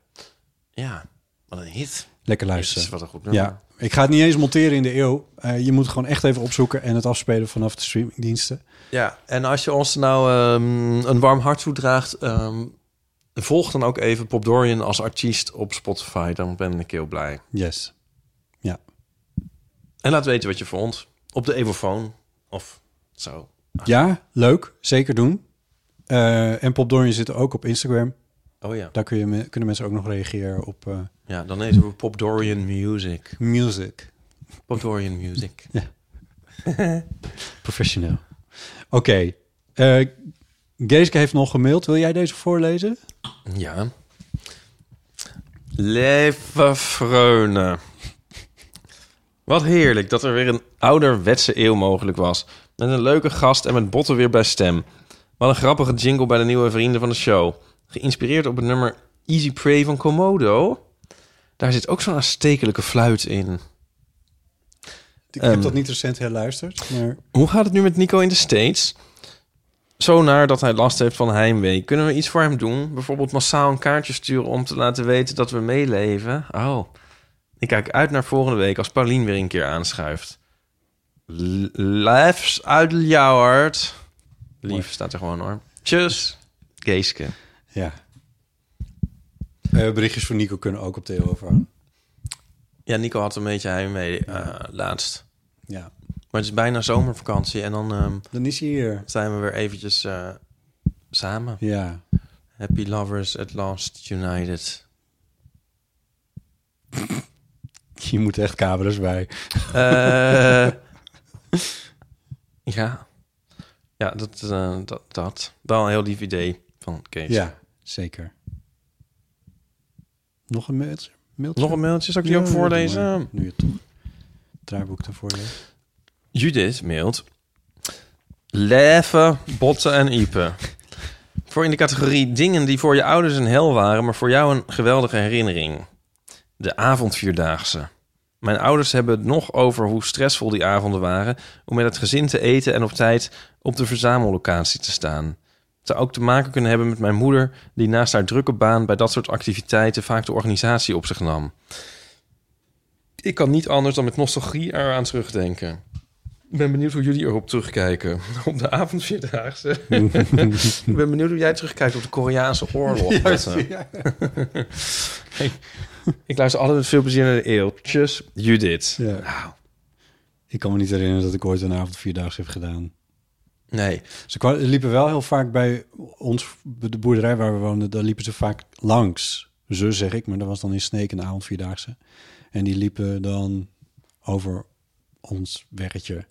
Speaker 2: Ja, wat een hit.
Speaker 1: lekker
Speaker 2: Jezus,
Speaker 1: luisteren.
Speaker 2: wat een goed nummer.
Speaker 1: Ja, ik ga het niet eens monteren in de eeuw. Eh, je moet gewoon echt even opzoeken en het afspelen vanaf de streamingdiensten.
Speaker 2: Ja, en als je ons nou ehm, een warm hart toedraagt, ehm, volg dan ook even Pop Dorian als artiest op Spotify. Dan ben ik heel blij.
Speaker 1: Yes. Ja.
Speaker 2: En laat weten wat je vond op de Evofoon of zo.
Speaker 1: Ja, leuk. Zeker doen. Eh, en Pop Dorian zit ook op Instagram.
Speaker 2: Oh ja,
Speaker 1: Daar kun je, me- kunnen mensen ook nog reageren op eh,
Speaker 2: ja dan heten we Pop Dorian Music.
Speaker 1: music.
Speaker 2: Pop Dorian Music.
Speaker 1: Professioneel. Oké. eh, Geeske heeft nog gemaild. Wil jij deze voorlezen?
Speaker 2: Ja. Leven Freune. Wat heerlijk dat er weer een ouderwetse eeuw mogelijk was. Met een leuke gast en met botten weer bij stem. Wat een grappige jingle bij de nieuwe vrienden van de show. Geïnspireerd op het nummer Easy Prey van Komodo. Daar zit ook zo'n aanstekelijke fluit in.
Speaker 1: Ik
Speaker 2: Ehm.
Speaker 1: heb dat niet recent herluisterd, maar...
Speaker 2: Hoe gaat het nu met Nico in de States? Zo naar dat hij last heeft van heimwee. Kunnen we iets voor hem doen? Bijvoorbeeld massaal een kaartje sturen om te laten weten dat we meeleven? Oh, ik kijk uit naar volgende week als Paulien weer een keer aanschuift. L- Liefs uit Ljouwert.
Speaker 1: Mooi.
Speaker 2: Lief staat er gewoon hoor. Tjus, Geeske.
Speaker 1: Ja. Eh, berichtjes voor Nico kunnen ook op de eeuw over.
Speaker 2: Ja, Nico had een beetje heimwee eh, laatst.
Speaker 1: Ja.
Speaker 2: Maar het is bijna zomervakantie en dan ehm,
Speaker 1: Dan is hij hier.
Speaker 2: zijn we weer eventjes eh, samen.
Speaker 1: Ja.
Speaker 2: Happy lovers at last united.
Speaker 1: Je moet echt kabelers bij.
Speaker 2: Eh, ja. Ja, dat, eh, dat, dat. Dan een heel lief idee van Kees.
Speaker 1: Ja, zeker. Nog een mailtje? mailtje?
Speaker 2: Nog een mailtje, zal ik die ook
Speaker 1: Ja, doe maar.
Speaker 2: voorlezen?
Speaker 1: Nu je toch het draaiboek daarvoor leest.
Speaker 2: Judith mailt. Leven, botten en iepen. Voor in de categorie dingen die voor je ouders een hel waren, maar voor jou een geweldige herinnering. De avondvierdaagse. Mijn ouders hebben het nog over hoe stressvol die avonden waren om met het gezin te eten en op tijd op de verzamellocatie te staan. Het zou ook te maken kunnen hebben met mijn moeder, die naast haar drukke baan bij dat soort activiteiten vaak de organisatie op zich nam. Ik kan niet anders dan met nostalgie eraan terugdenken. Ik ben benieuwd hoe jullie erop terugkijken. Op de avondvierdaagse. ik ben benieuwd hoe jij terugkijkt op de Koreaanse oorlog. Bette. ik, ik luister altijd met veel plezier naar de eeuw. Tjus, Judith.
Speaker 1: Ja.
Speaker 2: Nou,
Speaker 1: Ik kan me niet herinneren dat ik ooit een avond vierdaags heb gedaan.
Speaker 2: nee.
Speaker 1: Ze kwa- liepen wel heel vaak bij ons, bij de boerderij waar we woonden, daar liepen ze vaak langs. Ze zeg ik, maar dat was dan in Sneek een avond vierdaagse. En die liepen dan over ons weggetje.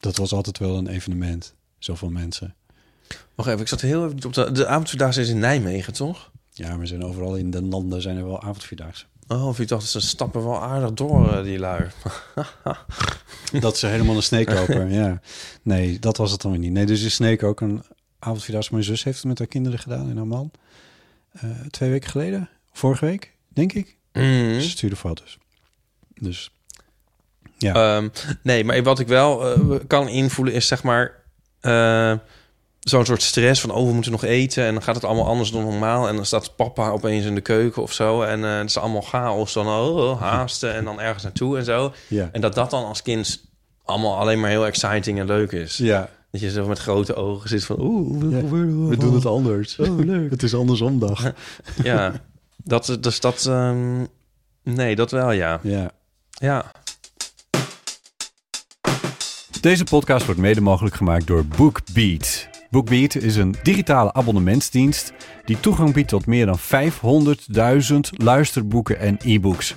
Speaker 1: Dat was altijd wel een evenement. Zoveel mensen.
Speaker 2: Wacht even, ik zat heel even niet op de... De avondvierdaagse is in Nijmegen, toch?
Speaker 1: Ja, we zijn overal in de landen zijn er wel avondvierdaagse.
Speaker 2: Oh, of ik dacht, ze stappen wel aardig door, eh, die lui.
Speaker 1: Dat ze helemaal een sneek lopen, ja. Nee, dat was het dan weer niet. Nee, dus is sneek ook een avondvierdaagse. Mijn zus heeft het met haar kinderen gedaan en haar man. Eh, twee weken geleden, vorige week, denk ik.
Speaker 2: Mm.
Speaker 1: Ze stuurde foto's. Dus
Speaker 2: Ehm, nee, maar wat ik wel eh, kan invoelen is zeg maar eh, zo'n soort stress van oh we moeten nog eten en dan gaat het allemaal anders dan normaal en dan staat papa opeens in de keuken of zo en eh, het is allemaal chaos dan oh haasten en dan ergens naartoe en zo
Speaker 1: ja.
Speaker 2: en dat dat dan als kind allemaal alleen maar heel exciting en leuk is.
Speaker 1: ja.
Speaker 3: Dat je zo met grote ogen zit van... Oeh, hoe-
Speaker 1: Ja,
Speaker 3: hoe- hoe-
Speaker 1: We doen het anders.
Speaker 3: Oh, leuk.
Speaker 1: Het is andersom dag.
Speaker 3: Ja, dat, dus dat... ehm, nee, dat wel, ja.
Speaker 1: Ja.
Speaker 3: Ja.
Speaker 4: Deze podcast wordt mede mogelijk gemaakt door BookBeat. BookBeat is een digitale abonnementsdienst die toegang biedt tot meer dan 500.000 luisterboeken en e-books.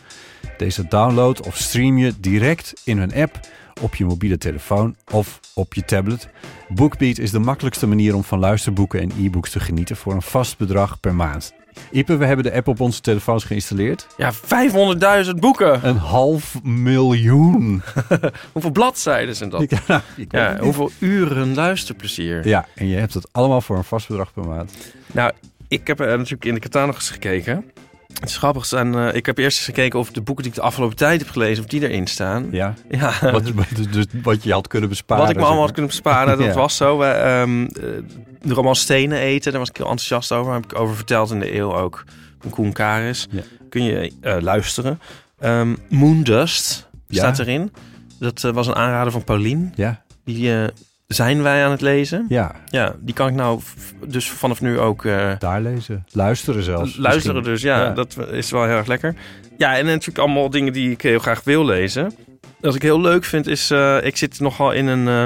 Speaker 4: Deze download of stream je direct in hun app op je mobiele telefoon of op je tablet. BookBeat is de makkelijkste manier om van luisterboeken en e-books te genieten voor een vast bedrag per maand. Ipe, we hebben de app op onze telefoons geïnstalleerd.
Speaker 2: Ja, 500.000 boeken.
Speaker 4: Een half miljoen.
Speaker 2: Hoeveel bladzijden zijn dat?
Speaker 4: Ja,
Speaker 2: Ja, hoeveel uren luisterplezier.
Speaker 4: Ja, en je hebt het allemaal voor een vast bedrag per maand.
Speaker 2: Nou, ik heb eh, natuurlijk in de catalogus gekeken. Het is grappig, er zijn, eh, ik heb eerst eens gekeken of de boeken die ik de afgelopen tijd heb gelezen, of die erin staan.
Speaker 4: Ja,
Speaker 2: Ja,
Speaker 4: wat, wat- dus wat je had kunnen besparen.
Speaker 2: wat ik me allemaal had
Speaker 4: zeg
Speaker 2: kunnen besparen, dat
Speaker 4: Ja.
Speaker 2: was zo. eh, ehm, eh, de roman Stenen eten, daar was ik heel enthousiast over. Daar heb ik over verteld in de eeuw ook. Van Koen Karis.
Speaker 4: Ja.
Speaker 2: Kun je eh, luisteren. Ehm Moondust
Speaker 4: Ja.
Speaker 2: staat erin. Dat eh, was een aanrader van Paulien.
Speaker 4: maar. Ja,
Speaker 2: Die eh, zijn wij aan het lezen.
Speaker 4: ja,
Speaker 2: Ja, die kan ik nou v- dus vanaf nu ook eh,
Speaker 4: daar lezen. Luisteren zelfs.
Speaker 2: luisteren.
Speaker 4: misschien.
Speaker 2: Dus ja,
Speaker 4: Ja.
Speaker 2: dat is wel heel erg lekker. Ja, en natuurlijk allemaal dingen die ik heel graag wil lezen. Wat ik heel leuk vind is, eh, ik zit nogal in een eh,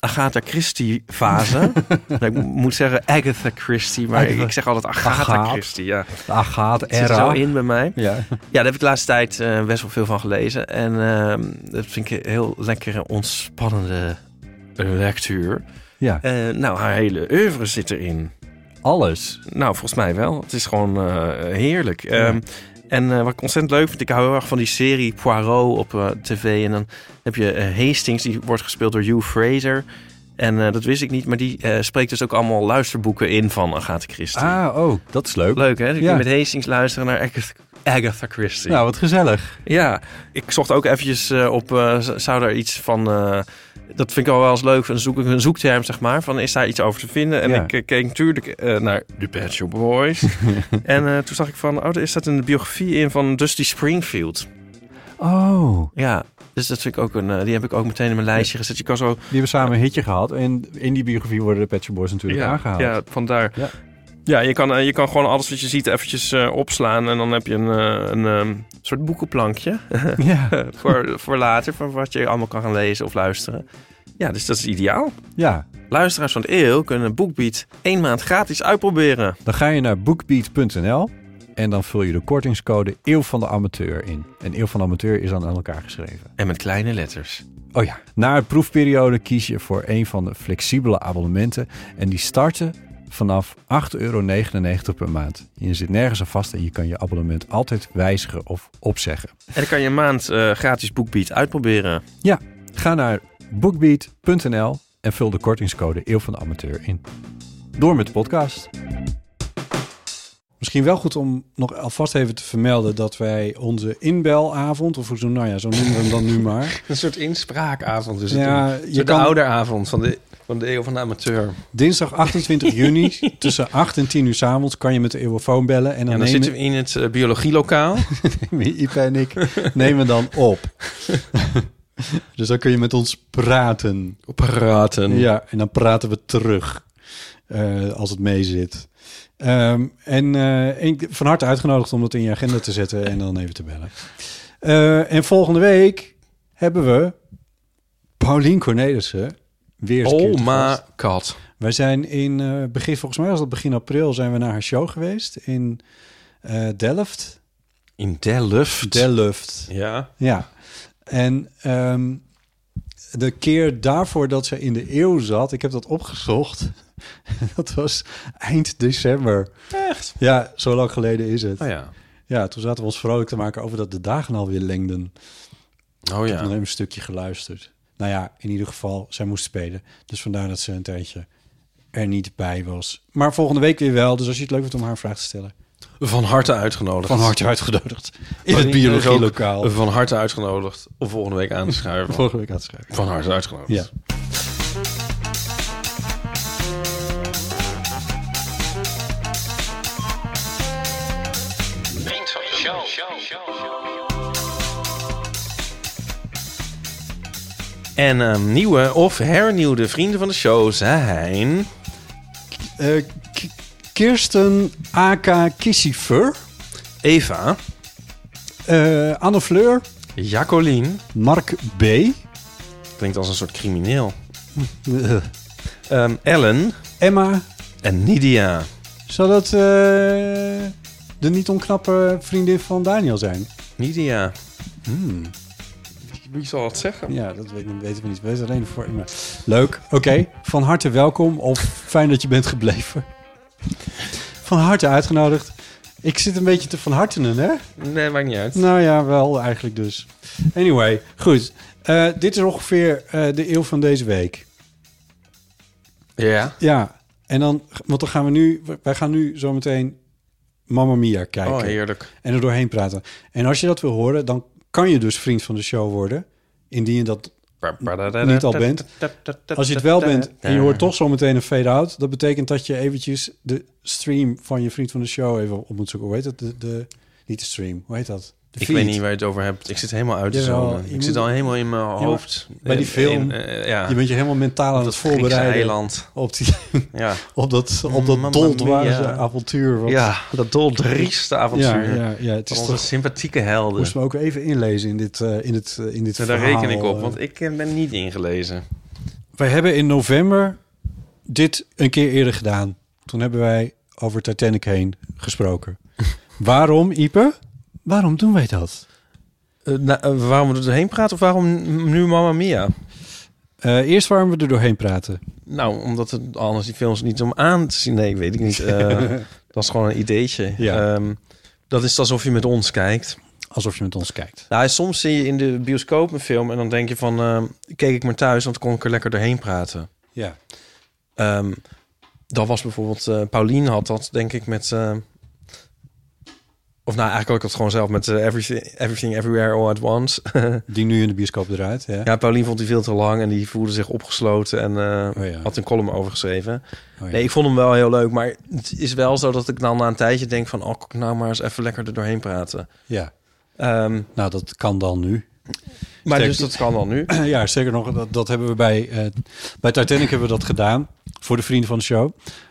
Speaker 2: Agatha Christie fase. nou, ik moet zeggen Agatha Christie, maar
Speaker 4: Agatha.
Speaker 2: ik zeg altijd Agatha
Speaker 4: Agatha.
Speaker 2: Christie. Ja,
Speaker 4: Agathe,
Speaker 2: het zit er zo
Speaker 4: Era.
Speaker 2: in bij mij.
Speaker 4: Ja.
Speaker 2: Ja, daar heb ik de laatste tijd eh, best wel veel van gelezen. En ehm, dat vind ik een heel lekkere, ontspannende eh, lectuur.
Speaker 4: ja,
Speaker 2: Eh, nou, haar hele oeuvre zit erin.
Speaker 4: alles.
Speaker 2: Nou, volgens mij wel. Het is gewoon eh, heerlijk. Ehm, en eh, wat ik ontzettend leuk vind, ik hou heel erg van die serie Poirot op eh, tv. En dan heb je eh, Hastings, die wordt gespeeld door Hugh Fraser. En eh, dat wist ik niet, maar die eh, spreekt dus ook allemaal luisterboeken in van Agatha Christie.
Speaker 4: Ah, oh, dat is leuk.
Speaker 2: Leuk hè? Dus je
Speaker 4: Ja.
Speaker 2: kunt met Hastings luisteren naar Agatha, Agatha Christie.
Speaker 4: Nou, wat gezellig.
Speaker 2: Ja, ik zocht ook eventjes eh, op, eh, z- zou daar iets van... eh, dat vind ik al wel eens leuk, een, zoek, een zoekterm zeg maar. Van is daar iets over te vinden? En
Speaker 4: Ja.
Speaker 2: ik eh, keek natuurlijk eh, naar de Pet Shop Boys. en eh, toen zag ik van, oh, er staat een biografie in van Dusty Springfield.
Speaker 4: Oh,
Speaker 2: Ja, dus dat vind ik ook een... eh, die heb ik ook meteen in mijn lijstje gezet. Je kan zo...
Speaker 4: die hebben samen een hitje gehad. En in die biografie worden de Pet Shop Boys natuurlijk aangehaald.
Speaker 2: ja, vandaar.
Speaker 4: Ja.
Speaker 2: Ja. je kan, eh, je kan gewoon alles wat je ziet eventjes eh, opslaan. En dan heb je een, eh, een ehm, soort boekenplankje.
Speaker 4: ja.
Speaker 2: eh, voor, voor later, voor wat je allemaal kan gaan lezen of luisteren. Ja, dus dat is ideaal.
Speaker 4: ja.
Speaker 2: Luisteraars van de eeuw kunnen BookBeat één maand gratis uitproberen.
Speaker 4: Dan ga je naar bookbeat.nl en dan vul je de kortingscode Eeuw van de Amateur in. En Eeuw van de Amateur is dan aan elkaar geschreven.
Speaker 2: En met kleine letters.
Speaker 4: Oh ja. Na een proefperiode kies je voor een van de flexibele abonnementen. En die starten vanaf 8,99 euro per maand. Je zit nergens aan vast en je kan je abonnement altijd wijzigen of opzeggen.
Speaker 2: En dan kan je een maand eh, gratis BookBeat uitproberen.
Speaker 4: Ja, ga naar bookbeat.nl en vul de kortingscode Eeuw van de Amateur in. Door met de podcast.
Speaker 1: Misschien wel goed om nog alvast even te vermelden dat wij onze inbelavond, of hoe zo, nou ja, zo noemen we hem dan nu maar.
Speaker 3: Een soort inspraakavond is
Speaker 1: het Ja, dan. Een je soort kan-
Speaker 3: ouderavond van de, van de eeuw van de amateur.
Speaker 1: Dinsdag 28 juni tussen 8 en 10 uur 's avonds kan je met de eeuwenfoon bellen. En dan,
Speaker 3: En
Speaker 1: nemen
Speaker 3: dan zitten we in het eh, biologielokaal.
Speaker 1: Ipe en ik nemen dan op. dus dan kun je met ons praten.
Speaker 3: Praten.
Speaker 1: Ja, en dan praten we terug eh, als het meezit. Ehm, en, eh, en van harte uitgenodigd om dat in je agenda te zetten en dan even te bellen. Eh, en volgende week hebben we Paulien Cornelissen weer eens een keer
Speaker 3: Oh
Speaker 1: te
Speaker 3: my
Speaker 1: gast.
Speaker 3: god.
Speaker 1: Wij zijn in eh, begin, volgens mij was dat begin april, zijn we naar haar show geweest in eh, Delft.
Speaker 3: In Delft.
Speaker 1: Delft.
Speaker 3: Ja.
Speaker 1: Ja. En ehm, de keer daarvoor dat ze in de eeuw zat, ik heb dat opgezocht. dat was eind december.
Speaker 3: Echt?
Speaker 1: Ja, zo lang geleden is het.
Speaker 3: Oh ja.
Speaker 1: Ja, toen zaten we ons vrolijk te maken over dat de dagen alweer lengden.
Speaker 3: Oh
Speaker 1: Ik heb nog
Speaker 3: ja.
Speaker 1: even een stukje geluisterd. Nou ja, in ieder geval, zij moest spelen. Dus vandaar dat ze een tijdje er niet bij was. Maar volgende week weer wel. Dus als je het leuk vindt om haar een vraag te stellen.
Speaker 3: Van harte uitgenodigd.
Speaker 1: Van harte uitgenodigd. In
Speaker 3: Paulien
Speaker 1: het
Speaker 3: is
Speaker 1: biologielokaal.
Speaker 3: ook Van harte uitgenodigd om volgende week aan te schuiven.
Speaker 1: Volgende week aan te schrijven.
Speaker 3: Van harte uitgenodigd.
Speaker 1: Ja.
Speaker 3: En ehm, nieuwe of hernieuwde vrienden van de show zijn...
Speaker 1: Eh, K- Kirsten A.K. Kissifer,
Speaker 3: Eva,
Speaker 1: eh, Anne Fleur,
Speaker 3: Jacqueline,
Speaker 1: Mark B.
Speaker 3: klinkt als een soort crimineel,
Speaker 1: Eh,
Speaker 3: ehm, Ellen
Speaker 1: Emma,
Speaker 3: en Nidia.
Speaker 1: zou dat eh, de niet onknappe vriendin van Daniel zijn?
Speaker 3: Nidia.
Speaker 1: Hmm.
Speaker 3: Wie zal dat zeggen?
Speaker 1: Ja, dat weet- dat weten we niet. We weten alleen de voor. maar- Leuk. Oké, van harte welkom. Of fijn dat je bent gebleven. Van harte uitgenodigd. Ik zit een beetje te van hartenen, hè?
Speaker 3: Nee, maakt niet uit.
Speaker 1: Nou ja, wel eigenlijk dus. Anyway, goed. Eh, dit is ongeveer eh, de eeuw van deze week.
Speaker 3: Ja.
Speaker 1: Ja, en dan, want dan gaan we nu, wij gaan nu zometeen Mamma Mia kijken.
Speaker 3: Oh, heerlijk.
Speaker 1: en er doorheen praten. En als je dat wil horen, dan kan je dus vriend van de show worden. Indien je dat niet al bent. Als je het wel bent en je hoort toch zometeen een fade-out... dat betekent dat je eventjes de stream van je vriend van de show even op moet zoeken. Hoe heet dat? De, de, niet de stream, hoe heet dat? De
Speaker 3: Ik
Speaker 1: feed.
Speaker 3: weet niet waar je het over hebt. Ik zit helemaal uit de
Speaker 1: Jawel,
Speaker 3: zone.
Speaker 1: je
Speaker 3: Ik
Speaker 1: moet-
Speaker 3: zit al helemaal in mijn
Speaker 1: maar
Speaker 3: hoofd.
Speaker 1: bij die
Speaker 3: In-
Speaker 1: film,
Speaker 3: in, eh, ja.
Speaker 1: Je bent je helemaal mentaal aan
Speaker 3: Op
Speaker 1: het
Speaker 3: dat Griekse
Speaker 1: voorbereiden
Speaker 3: eiland.
Speaker 1: op, die,
Speaker 3: Ja.
Speaker 1: op dat, op
Speaker 3: Mamma
Speaker 1: dat doldwaarse
Speaker 3: mia.
Speaker 1: avontuur. wat-
Speaker 3: ja, dat doldrieste
Speaker 1: ja,
Speaker 3: avontuur.
Speaker 1: ja, ja, het
Speaker 3: Van
Speaker 1: is
Speaker 3: onze
Speaker 1: toch...
Speaker 3: sympathieke helden.
Speaker 1: Moesten we ook even inlezen in dit, eh, in dit, eh, in dit
Speaker 3: Nou, daar
Speaker 1: verhaal.
Speaker 3: reken ik op,
Speaker 1: eh.
Speaker 3: want ik eh, ben niet ingelezen.
Speaker 1: Wij hebben in november dit een keer eerder gedaan. Toen hebben wij over Titanic heen gesproken. waarom, Ipe? Waarom doen wij dat?
Speaker 3: Eh, nou, waarom we er heen praten of waarom nu Mamma Mia?
Speaker 1: Eh, eerst waarom we er doorheen praten.
Speaker 3: Nou, omdat het anders die films niet om aan te zien. Nee, weet ik niet. Eh, dat is gewoon een ideetje.
Speaker 1: Ja.
Speaker 3: Ehm, dat is alsof je met ons kijkt.
Speaker 1: Alsof je met ons kijkt.
Speaker 3: Nou, soms zie je in de bioscoop een film en dan denk je van... ehm, keek ik maar thuis, want dan kon ik er lekker doorheen praten.
Speaker 1: Ja.
Speaker 3: Ehm, dat was bijvoorbeeld... eh Pauline had dat, denk ik, met... ehm, of nou, eigenlijk had ik dat gewoon zelf met eh, everything, everything Everywhere All At Once.
Speaker 1: Die nu in de bioscoop eruit. Ja.
Speaker 3: ja, Pauline vond die veel te lang en die voelde zich opgesloten en eh,
Speaker 1: Oh ja.
Speaker 3: had een column over geschreven.
Speaker 1: Oh ja.
Speaker 3: Nee, ik vond hem wel heel leuk, maar het is wel zo dat ik dan na een tijdje denk van... oh, kan ik nou maar eens even lekker er doorheen praten.
Speaker 1: ja.
Speaker 3: Ehm,
Speaker 1: Nou, dat kan dan nu.
Speaker 3: maar
Speaker 1: Sterk-
Speaker 3: dus dat kan dan nu.
Speaker 1: ja, zeker nog. Dat, dat hebben we bij, eh, bij Titanic hebben we dat gedaan. Voor de vrienden van de show.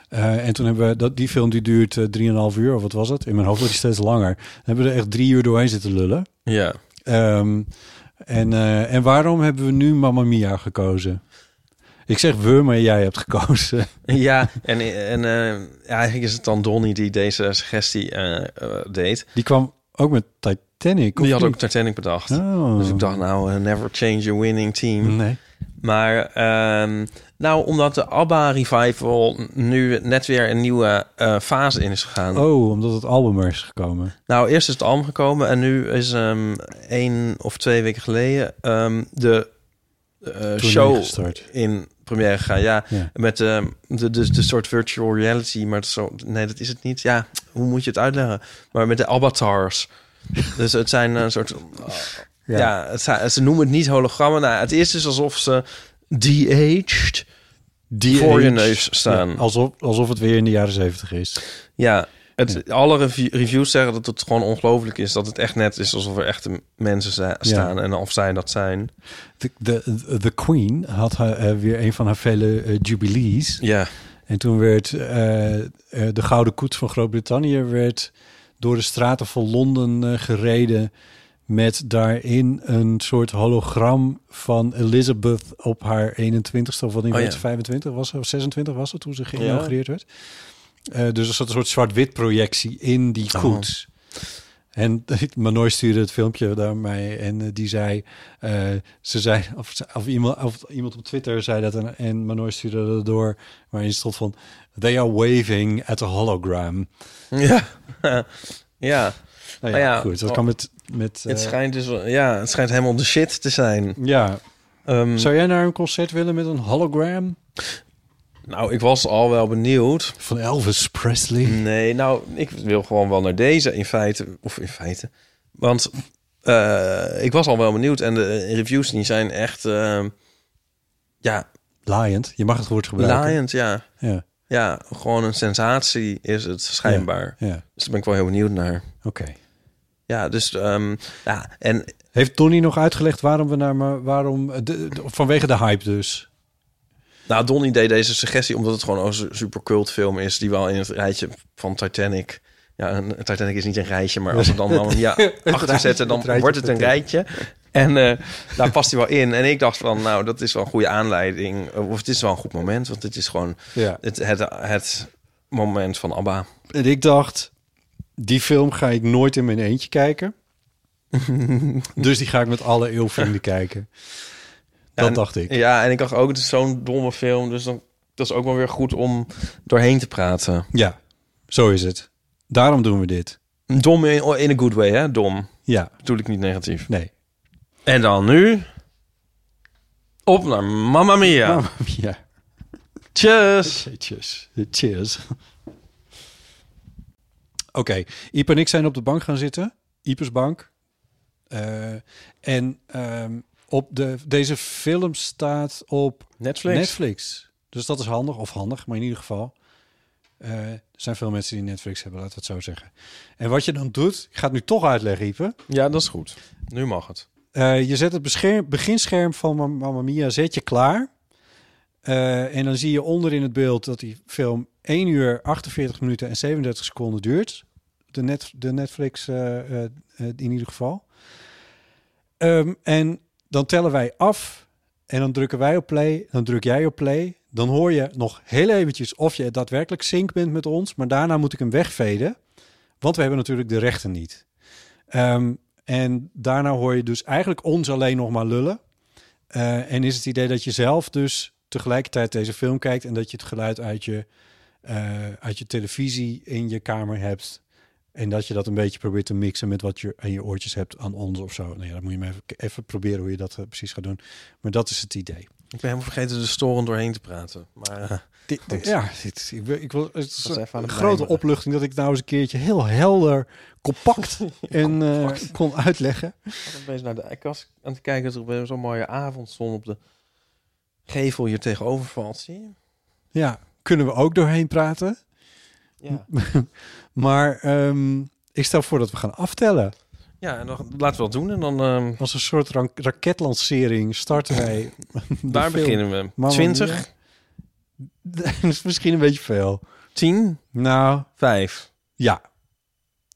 Speaker 1: Eh, en toen hebben we dat, die film die duurt eh, 3,5 uur, of wat was het? In mijn hoofd wordt die steeds langer. Dan hebben we er echt drie uur doorheen zitten lullen.
Speaker 3: Ja.
Speaker 1: Ehm, en, eh, en waarom hebben we nu Mamma Mia gekozen? Ik zeg we, maar jij hebt gekozen.
Speaker 3: Ja, en, en eh, eigenlijk is het dan Donnie die deze suggestie eh, eh, deed.
Speaker 1: Die kwam ook met Titanic. of
Speaker 3: Die had ook
Speaker 1: niet?
Speaker 3: Titanic bedacht.
Speaker 1: Oh.
Speaker 3: Dus ik dacht, nou, eh, never change a winning team.
Speaker 1: Nee.
Speaker 3: Maar, ehm, nou, omdat de ABBA Revival nu net weer een nieuwe eh, fase in is gegaan.
Speaker 1: Oh, omdat het album er is gekomen.
Speaker 3: Nou, eerst is het album gekomen en nu is ehm één of twee weken geleden ehm, de eh, show
Speaker 1: gestart.
Speaker 3: in première gegaan. Ja,
Speaker 1: Ja.
Speaker 3: met ehm, de, de, de soort virtual reality, maar het zo, nee, dat is het niet. Ja, hoe moet je het uitleggen? Maar met de avatars. dus het zijn een soort... ja, het zijn- ze noemen het niet hologrammen. Nou, het is dus alsof ze de-aged
Speaker 1: Die
Speaker 3: voor je
Speaker 1: eens-
Speaker 3: neus staan.
Speaker 1: Ja, alsof, alsof het weer in de jaren zeventig is.
Speaker 3: Ja, het, alle rev- reviews zeggen dat het gewoon ongelooflijk is. Dat het echt net is alsof er echte mensen za- staan en of zij dat zijn.
Speaker 1: De, de, de Queen had haar, eh, weer een van haar vele eh, jubilees.
Speaker 3: Ja,
Speaker 1: En toen werd eh, eh, de Gouden Koets van Groot-Brittannië werd door de straten van Londen eh, gereden. Met daarin een soort hologram van Elizabeth op haar 21ste of wat niet
Speaker 3: Oh ja.
Speaker 1: weet, 25 was ze, of 26 was het toen ze geïnaugureerd werd. Eh, dus er zat een soort zwart-wit projectie in die
Speaker 3: Oh.
Speaker 1: koets. En Manoy stuurde het filmpje daarmee en eh, die zei, eh, ze zei of, ze- of, iemand, of iemand op Twitter zei dat en, en Manoy stuurde dat door, waarin stond van, they are waving at a hologram.
Speaker 3: ja, ja.
Speaker 1: Nou ja,
Speaker 3: Ah ja,
Speaker 1: goed, dat
Speaker 3: oh.
Speaker 1: kan met... met
Speaker 3: Het
Speaker 1: eh,
Speaker 3: schijnt dus, wel- ja, het schijnt helemaal de shit te zijn.
Speaker 1: ja,
Speaker 3: Ehm,
Speaker 1: zou jij naar een concert willen met een hologram?
Speaker 3: nou, ik was al wel benieuwd.
Speaker 1: Van Elvis Presley?
Speaker 3: Nee, nou, ik wil gewoon wel naar deze in feite. Of in feite. Want eh, ik was al wel benieuwd en de reviews die zijn echt, eh, ja,
Speaker 1: Liant, je mag het woord gebruiken.
Speaker 3: laaiend, ja.
Speaker 1: Ja,
Speaker 3: Ja, gewoon een sensatie is het schijnbaar.
Speaker 1: ja,
Speaker 3: Dus daar ben ik wel heel benieuwd naar.
Speaker 1: oké.
Speaker 2: Ja, dus ehm, ja, en
Speaker 1: Heeft Tony nog uitgelegd waarom we naar... maar Waarom, eh, de- de- vanwege de hype dus.
Speaker 2: nou, Donnie deed deze suggestie omdat het gewoon een su- super cult film is die wel in het rijtje van Titanic. Ja, een, Titanic is niet een rijtje, maar als we dan dan ja, achter zetten, dan
Speaker 1: het rijtje
Speaker 2: wordt het een
Speaker 1: van
Speaker 2: rijtje. En eh, daar past hij wel in. En ik dacht van, nou, dat is wel een goede aanleiding. eh, Of het is wel een goed moment, want dit is gewoon
Speaker 1: Ja.
Speaker 2: het, het, het moment van ABBA.
Speaker 1: En ik dacht, die film ga ik nooit in mijn eentje kijken. dus die ga ik met alle eeuwvrienden kijken. Dat
Speaker 2: en-
Speaker 1: dacht ik.
Speaker 2: Ja, en ik dacht ook, het is zo'n domme film. Dus dan, dat is ook wel weer goed om doorheen te praten.
Speaker 1: Ja, zo is het. Daarom doen we dit.
Speaker 2: Dom in, in a good way, hè? Dom.
Speaker 1: Ja,
Speaker 2: Bedoel ik niet negatief.
Speaker 1: nee.
Speaker 2: En dan nu... Op naar Mamma Mia.
Speaker 1: Oh, ja.
Speaker 2: Tjus.
Speaker 1: Cheers. Cheers. Oké, Iep en ik zijn op de bank gaan zitten. Iepers bank. Eh, en ehm, op de, deze film staat op
Speaker 2: Netflix.
Speaker 1: Netflix. Dus dat is handig, of handig, maar in ieder geval. eh, er zijn veel mensen die Netflix hebben, laten we het zo zeggen. En wat je dan doet, ik ga het nu toch uitleggen, Iepen.
Speaker 2: Ja, dat is goed. Nu mag het.
Speaker 1: Eh, je zet het bescherm, beginscherm van Ma- Mamma Mia zet je klaar. Eh, en dan zie je onder in het beeld dat die film 1 uur 48 minuten en 37 seconden duurt. De, net, de Netflix eh, eh, eh, in ieder geval. Ehm, en dan tellen wij af en dan drukken wij op play, dan druk jij op play. Dan hoor je nog heel eventjes of je daadwerkelijk sync bent met ons. Maar daarna moet ik hem wegveden, want we hebben natuurlijk de rechten niet. Ehm, en daarna hoor je dus eigenlijk ons alleen nog maar lullen. Eh, en is het idee dat je zelf dus tegelijkertijd deze film kijkt en dat je het geluid uit je, eh, uit je televisie in je kamer hebt. En dat je dat een beetje probeert te mixen met wat je aan je oortjes hebt aan ons of zo. Nou ja, dan moet je maar even, even proberen hoe je dat eh, precies gaat doen. Maar dat is het idee.
Speaker 2: Ik ben helemaal vergeten de storend doorheen te praten. Maar eh, dit-
Speaker 1: ja, dit, ik, wil- ik wil, het is
Speaker 2: was even aan
Speaker 1: een
Speaker 2: het
Speaker 1: grote
Speaker 2: mijmeren.
Speaker 1: opluchting dat ik nou eens een keertje heel helder, compact en eh, kon uitleggen.
Speaker 2: ik was opeens naar de ik was aan het kijken dat er zo'n mooie avondzon op de gevel hier tegenover valt. Zie je?
Speaker 1: Ja, kunnen we ook doorheen praten?
Speaker 2: Ja.
Speaker 1: Maar ehm, ik stel voor dat we gaan aftellen.
Speaker 2: Ja, en dan laten we dat doen. En dan ehm,
Speaker 1: Als een soort ran- raketlancering starten wij. de
Speaker 2: daar
Speaker 1: film.
Speaker 2: beginnen we.
Speaker 1: Mamma
Speaker 2: 20,
Speaker 1: Mia. Dat is misschien een beetje veel.
Speaker 2: 10,
Speaker 1: Nou,
Speaker 2: 5,
Speaker 1: ja.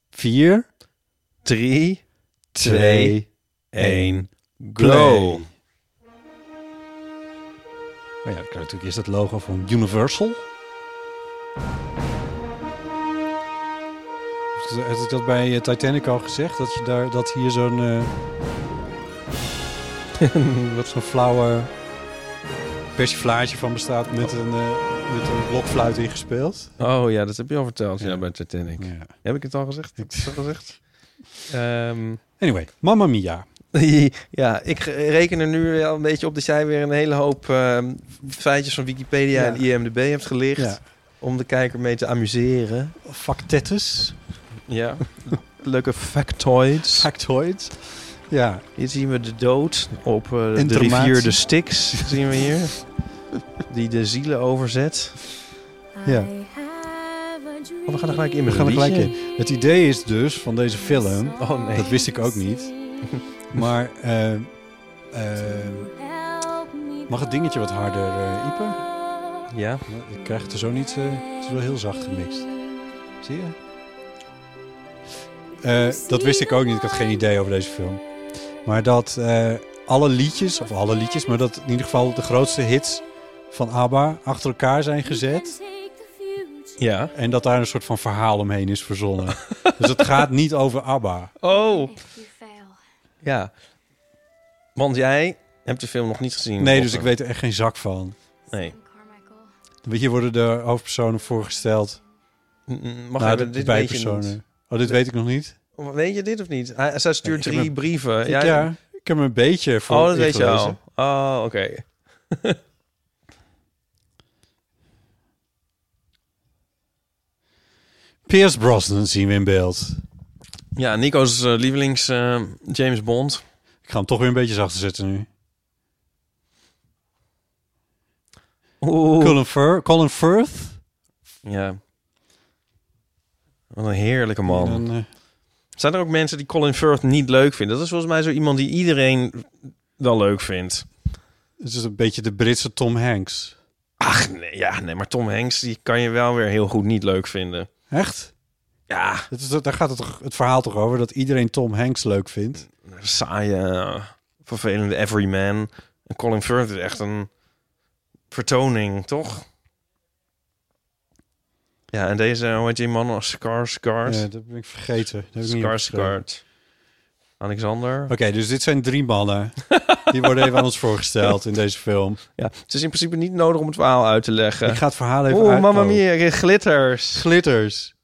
Speaker 1: Vier,
Speaker 2: 3,
Speaker 1: twee.
Speaker 2: 1,
Speaker 1: Play.
Speaker 2: go.
Speaker 1: Maar Nou ja, dan krijg je natuurlijk eerst het logo van Universal. Had ik dat bij eh, Titanic al gezegd? Dat, je daar, dat hier zo'n... eh, wat zo'n flauwe persiflage van bestaat met een, eh met een blokfluit ingespeeld.
Speaker 2: Oh ja, dat heb je al verteld ja. bij Titanic.
Speaker 1: Ja.
Speaker 2: Heb ik het al gezegd? Heb ik het al gezegd? Ehm,
Speaker 1: Anyway, Mamma Mia.
Speaker 2: ja, ik eh, reken er nu wel een beetje op dat jij weer een hele hoop ehm, feitjes van Wikipedia en IMDb hebt gelicht.
Speaker 1: Ja.
Speaker 2: Om de kijker mee te amuseren.
Speaker 1: Factetus.
Speaker 2: Ja. Leuke factoids.
Speaker 1: Factoid. Ja,
Speaker 2: Hier zien we de dood op eh, de
Speaker 1: Informatie.
Speaker 2: rivier de Styx. zien we hier. Die de zielen overzet.
Speaker 1: ja.
Speaker 2: Oh, we gaan er gelijk in
Speaker 1: We
Speaker 2: met
Speaker 1: gaan er
Speaker 2: een
Speaker 1: gelijk
Speaker 2: liedje.
Speaker 1: in. Het idee is dus van deze film...
Speaker 2: Oh nee.
Speaker 1: Dat wist ik ook niet. Maar eh, eh, mag het dingetje wat harder, eh Ipe?
Speaker 2: Ja.
Speaker 1: Ik krijg het er zo niet. eh, het is wel heel zacht gemixt. Zie je? Eh, dat wist ik ook niet. Ik had geen idee over deze film. Maar dat eh, alle liedjes, of alle liedjes, maar dat in ieder geval de grootste hits van ABBA achter elkaar zijn gezet.
Speaker 2: Ja.
Speaker 1: En dat daar een soort van verhaal omheen is verzonnen. dus het gaat niet over ABBA.
Speaker 2: Oh. Ja. Want jij hebt de film nog niet gezien.
Speaker 1: Nee,
Speaker 2: Lotte.
Speaker 1: dus ik weet er echt geen zak van.
Speaker 2: Nee.
Speaker 1: Hier worden de hoofdpersonen voorgesteld.
Speaker 2: Mm, mm, Mag
Speaker 1: Nou,
Speaker 2: even-
Speaker 1: de
Speaker 2: dit weet je
Speaker 1: bijpersonen.
Speaker 2: niet.
Speaker 1: Oh, dit weet ik nog niet.
Speaker 2: Weet je dit of niet? Hij, zij stuurt
Speaker 1: Ik heb
Speaker 2: drie
Speaker 1: een-
Speaker 2: brieven.
Speaker 1: Ja,
Speaker 2: Ja,
Speaker 1: ik heb me een beetje voor
Speaker 2: Oh, dat weet je
Speaker 1: ingelezen.
Speaker 2: al. Oh, oké.
Speaker 1: Pierce Brosnan zien we in beeld.
Speaker 2: Ja, Nico's eh, lievelings eh, James Bond.
Speaker 1: Ik ga hem toch weer een beetje zachter zetten nu.
Speaker 2: Oeh.
Speaker 1: Colin, Fir- Colin Firth.
Speaker 2: Ja. Wat een heerlijke
Speaker 1: En
Speaker 2: man.
Speaker 1: dan, eh,
Speaker 2: Zijn er ook mensen die Colin Firth niet leuk vinden? Dat is volgens mij zo iemand die iedereen wel leuk vindt.
Speaker 1: Het is een beetje de Britse Tom Hanks.
Speaker 2: Ach, nee, ja, nee, maar Tom Hanks, die kan je wel weer heel goed niet leuk vinden.
Speaker 1: Echt?
Speaker 2: Ja,
Speaker 1: Dat is, daar gaat het, toch, het verhaal toch over dat iedereen Tom Hanks leuk vindt.
Speaker 2: saaie, eh, vervelende everyman. En Colin Firth is echt een vertoning, toch? Ja, en deze, hoe heet die man? Skarsgård.
Speaker 1: Ja, dat ben ik vergeten. Dat heb ik niet opgeschreven.
Speaker 2: Skarsgård. Alexander.
Speaker 1: Oké, dus dit zijn drie mannen. Die worden even aan ons voorgesteld in deze film.
Speaker 2: Ja, het is in principe niet nodig om het verhaal uit te leggen.
Speaker 1: Ik ga het verhaal even Oh.
Speaker 2: Oeh, mamma
Speaker 1: uitkomen.
Speaker 2: mia, ik- glitters.
Speaker 1: Glitters.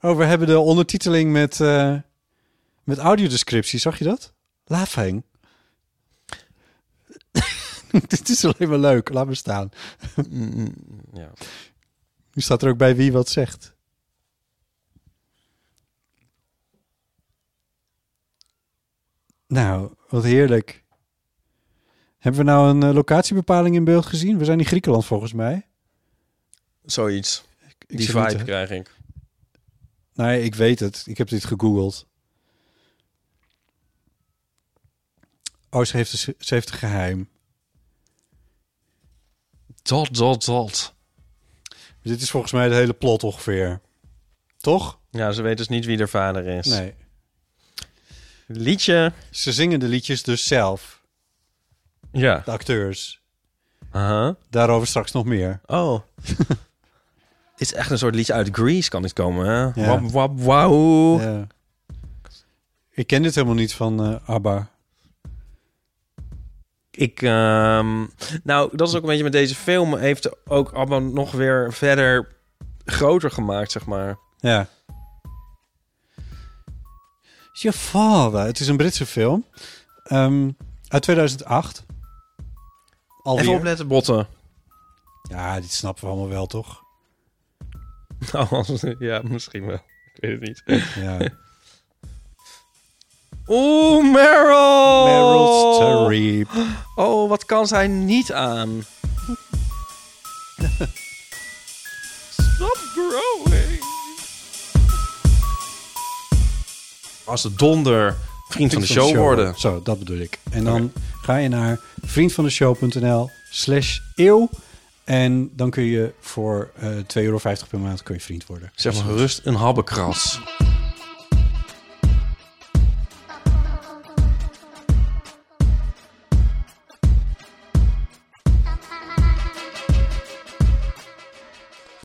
Speaker 1: Oh, we hebben de ondertiteling met, eh met audiodescriptie. Zag je dat? Laughing. Dit is alleen maar leuk. Laat me staan.
Speaker 2: ja.
Speaker 1: Nu staat er ook bij wie wat zegt. Nou, wat heerlijk. Hebben we nou een eh, locatiebepaling in beeld gezien? We zijn in Griekenland volgens mij.
Speaker 2: Zoiets.
Speaker 1: Ik
Speaker 2: Die
Speaker 1: zit niet
Speaker 2: vibe
Speaker 1: te-
Speaker 2: krijg ik.
Speaker 1: Nee, ik weet het. Ik heb dit gegoogeld. Oh, ze heeft, een, ze heeft een geheim.
Speaker 2: Dot, dot, dot.
Speaker 1: Dit is volgens mij de hele plot ongeveer. Toch?
Speaker 2: Ja, ze weet dus niet wie haar vader is.
Speaker 1: Nee.
Speaker 2: Liedje.
Speaker 1: Ze zingen de liedjes dus zelf.
Speaker 2: Ja.
Speaker 1: De acteurs.
Speaker 2: Aha.
Speaker 1: Daarover straks nog meer.
Speaker 2: Oh. Het is echt een soort liedje uit Greece kan dit komen, hè?
Speaker 1: Ja.
Speaker 2: Wap, wap, wauw.
Speaker 1: Ja. Ik ken dit helemaal niet van eh, ABBA.
Speaker 2: Ik, ehm, nou, dat is ook een beetje met deze film. Heeft ook allemaal nog weer verder groter gemaakt, zeg maar.
Speaker 1: Ja. Je vader. Het is een Britse film. Ehm, uit 2008.
Speaker 2: Even
Speaker 1: Alweer.
Speaker 2: opletten, botten.
Speaker 1: Ja, dit snappen we allemaal wel, toch?
Speaker 2: Nou, als- ja, misschien wel. Ik weet het niet.
Speaker 1: Ja.
Speaker 2: Oeh, Meryl!
Speaker 1: Meryl Streep.
Speaker 2: Oh, wat kan zij niet aan? Stop growing. Als de donder vriend van de show worden.
Speaker 1: Zo, dat bedoel ik. En dan ga je naar vriendvandeshow.nl slash eeuw. En dan kun je voor eh 2,50 euro per maand kun je vriend worden.
Speaker 2: Zeg maar gerust een habbekras.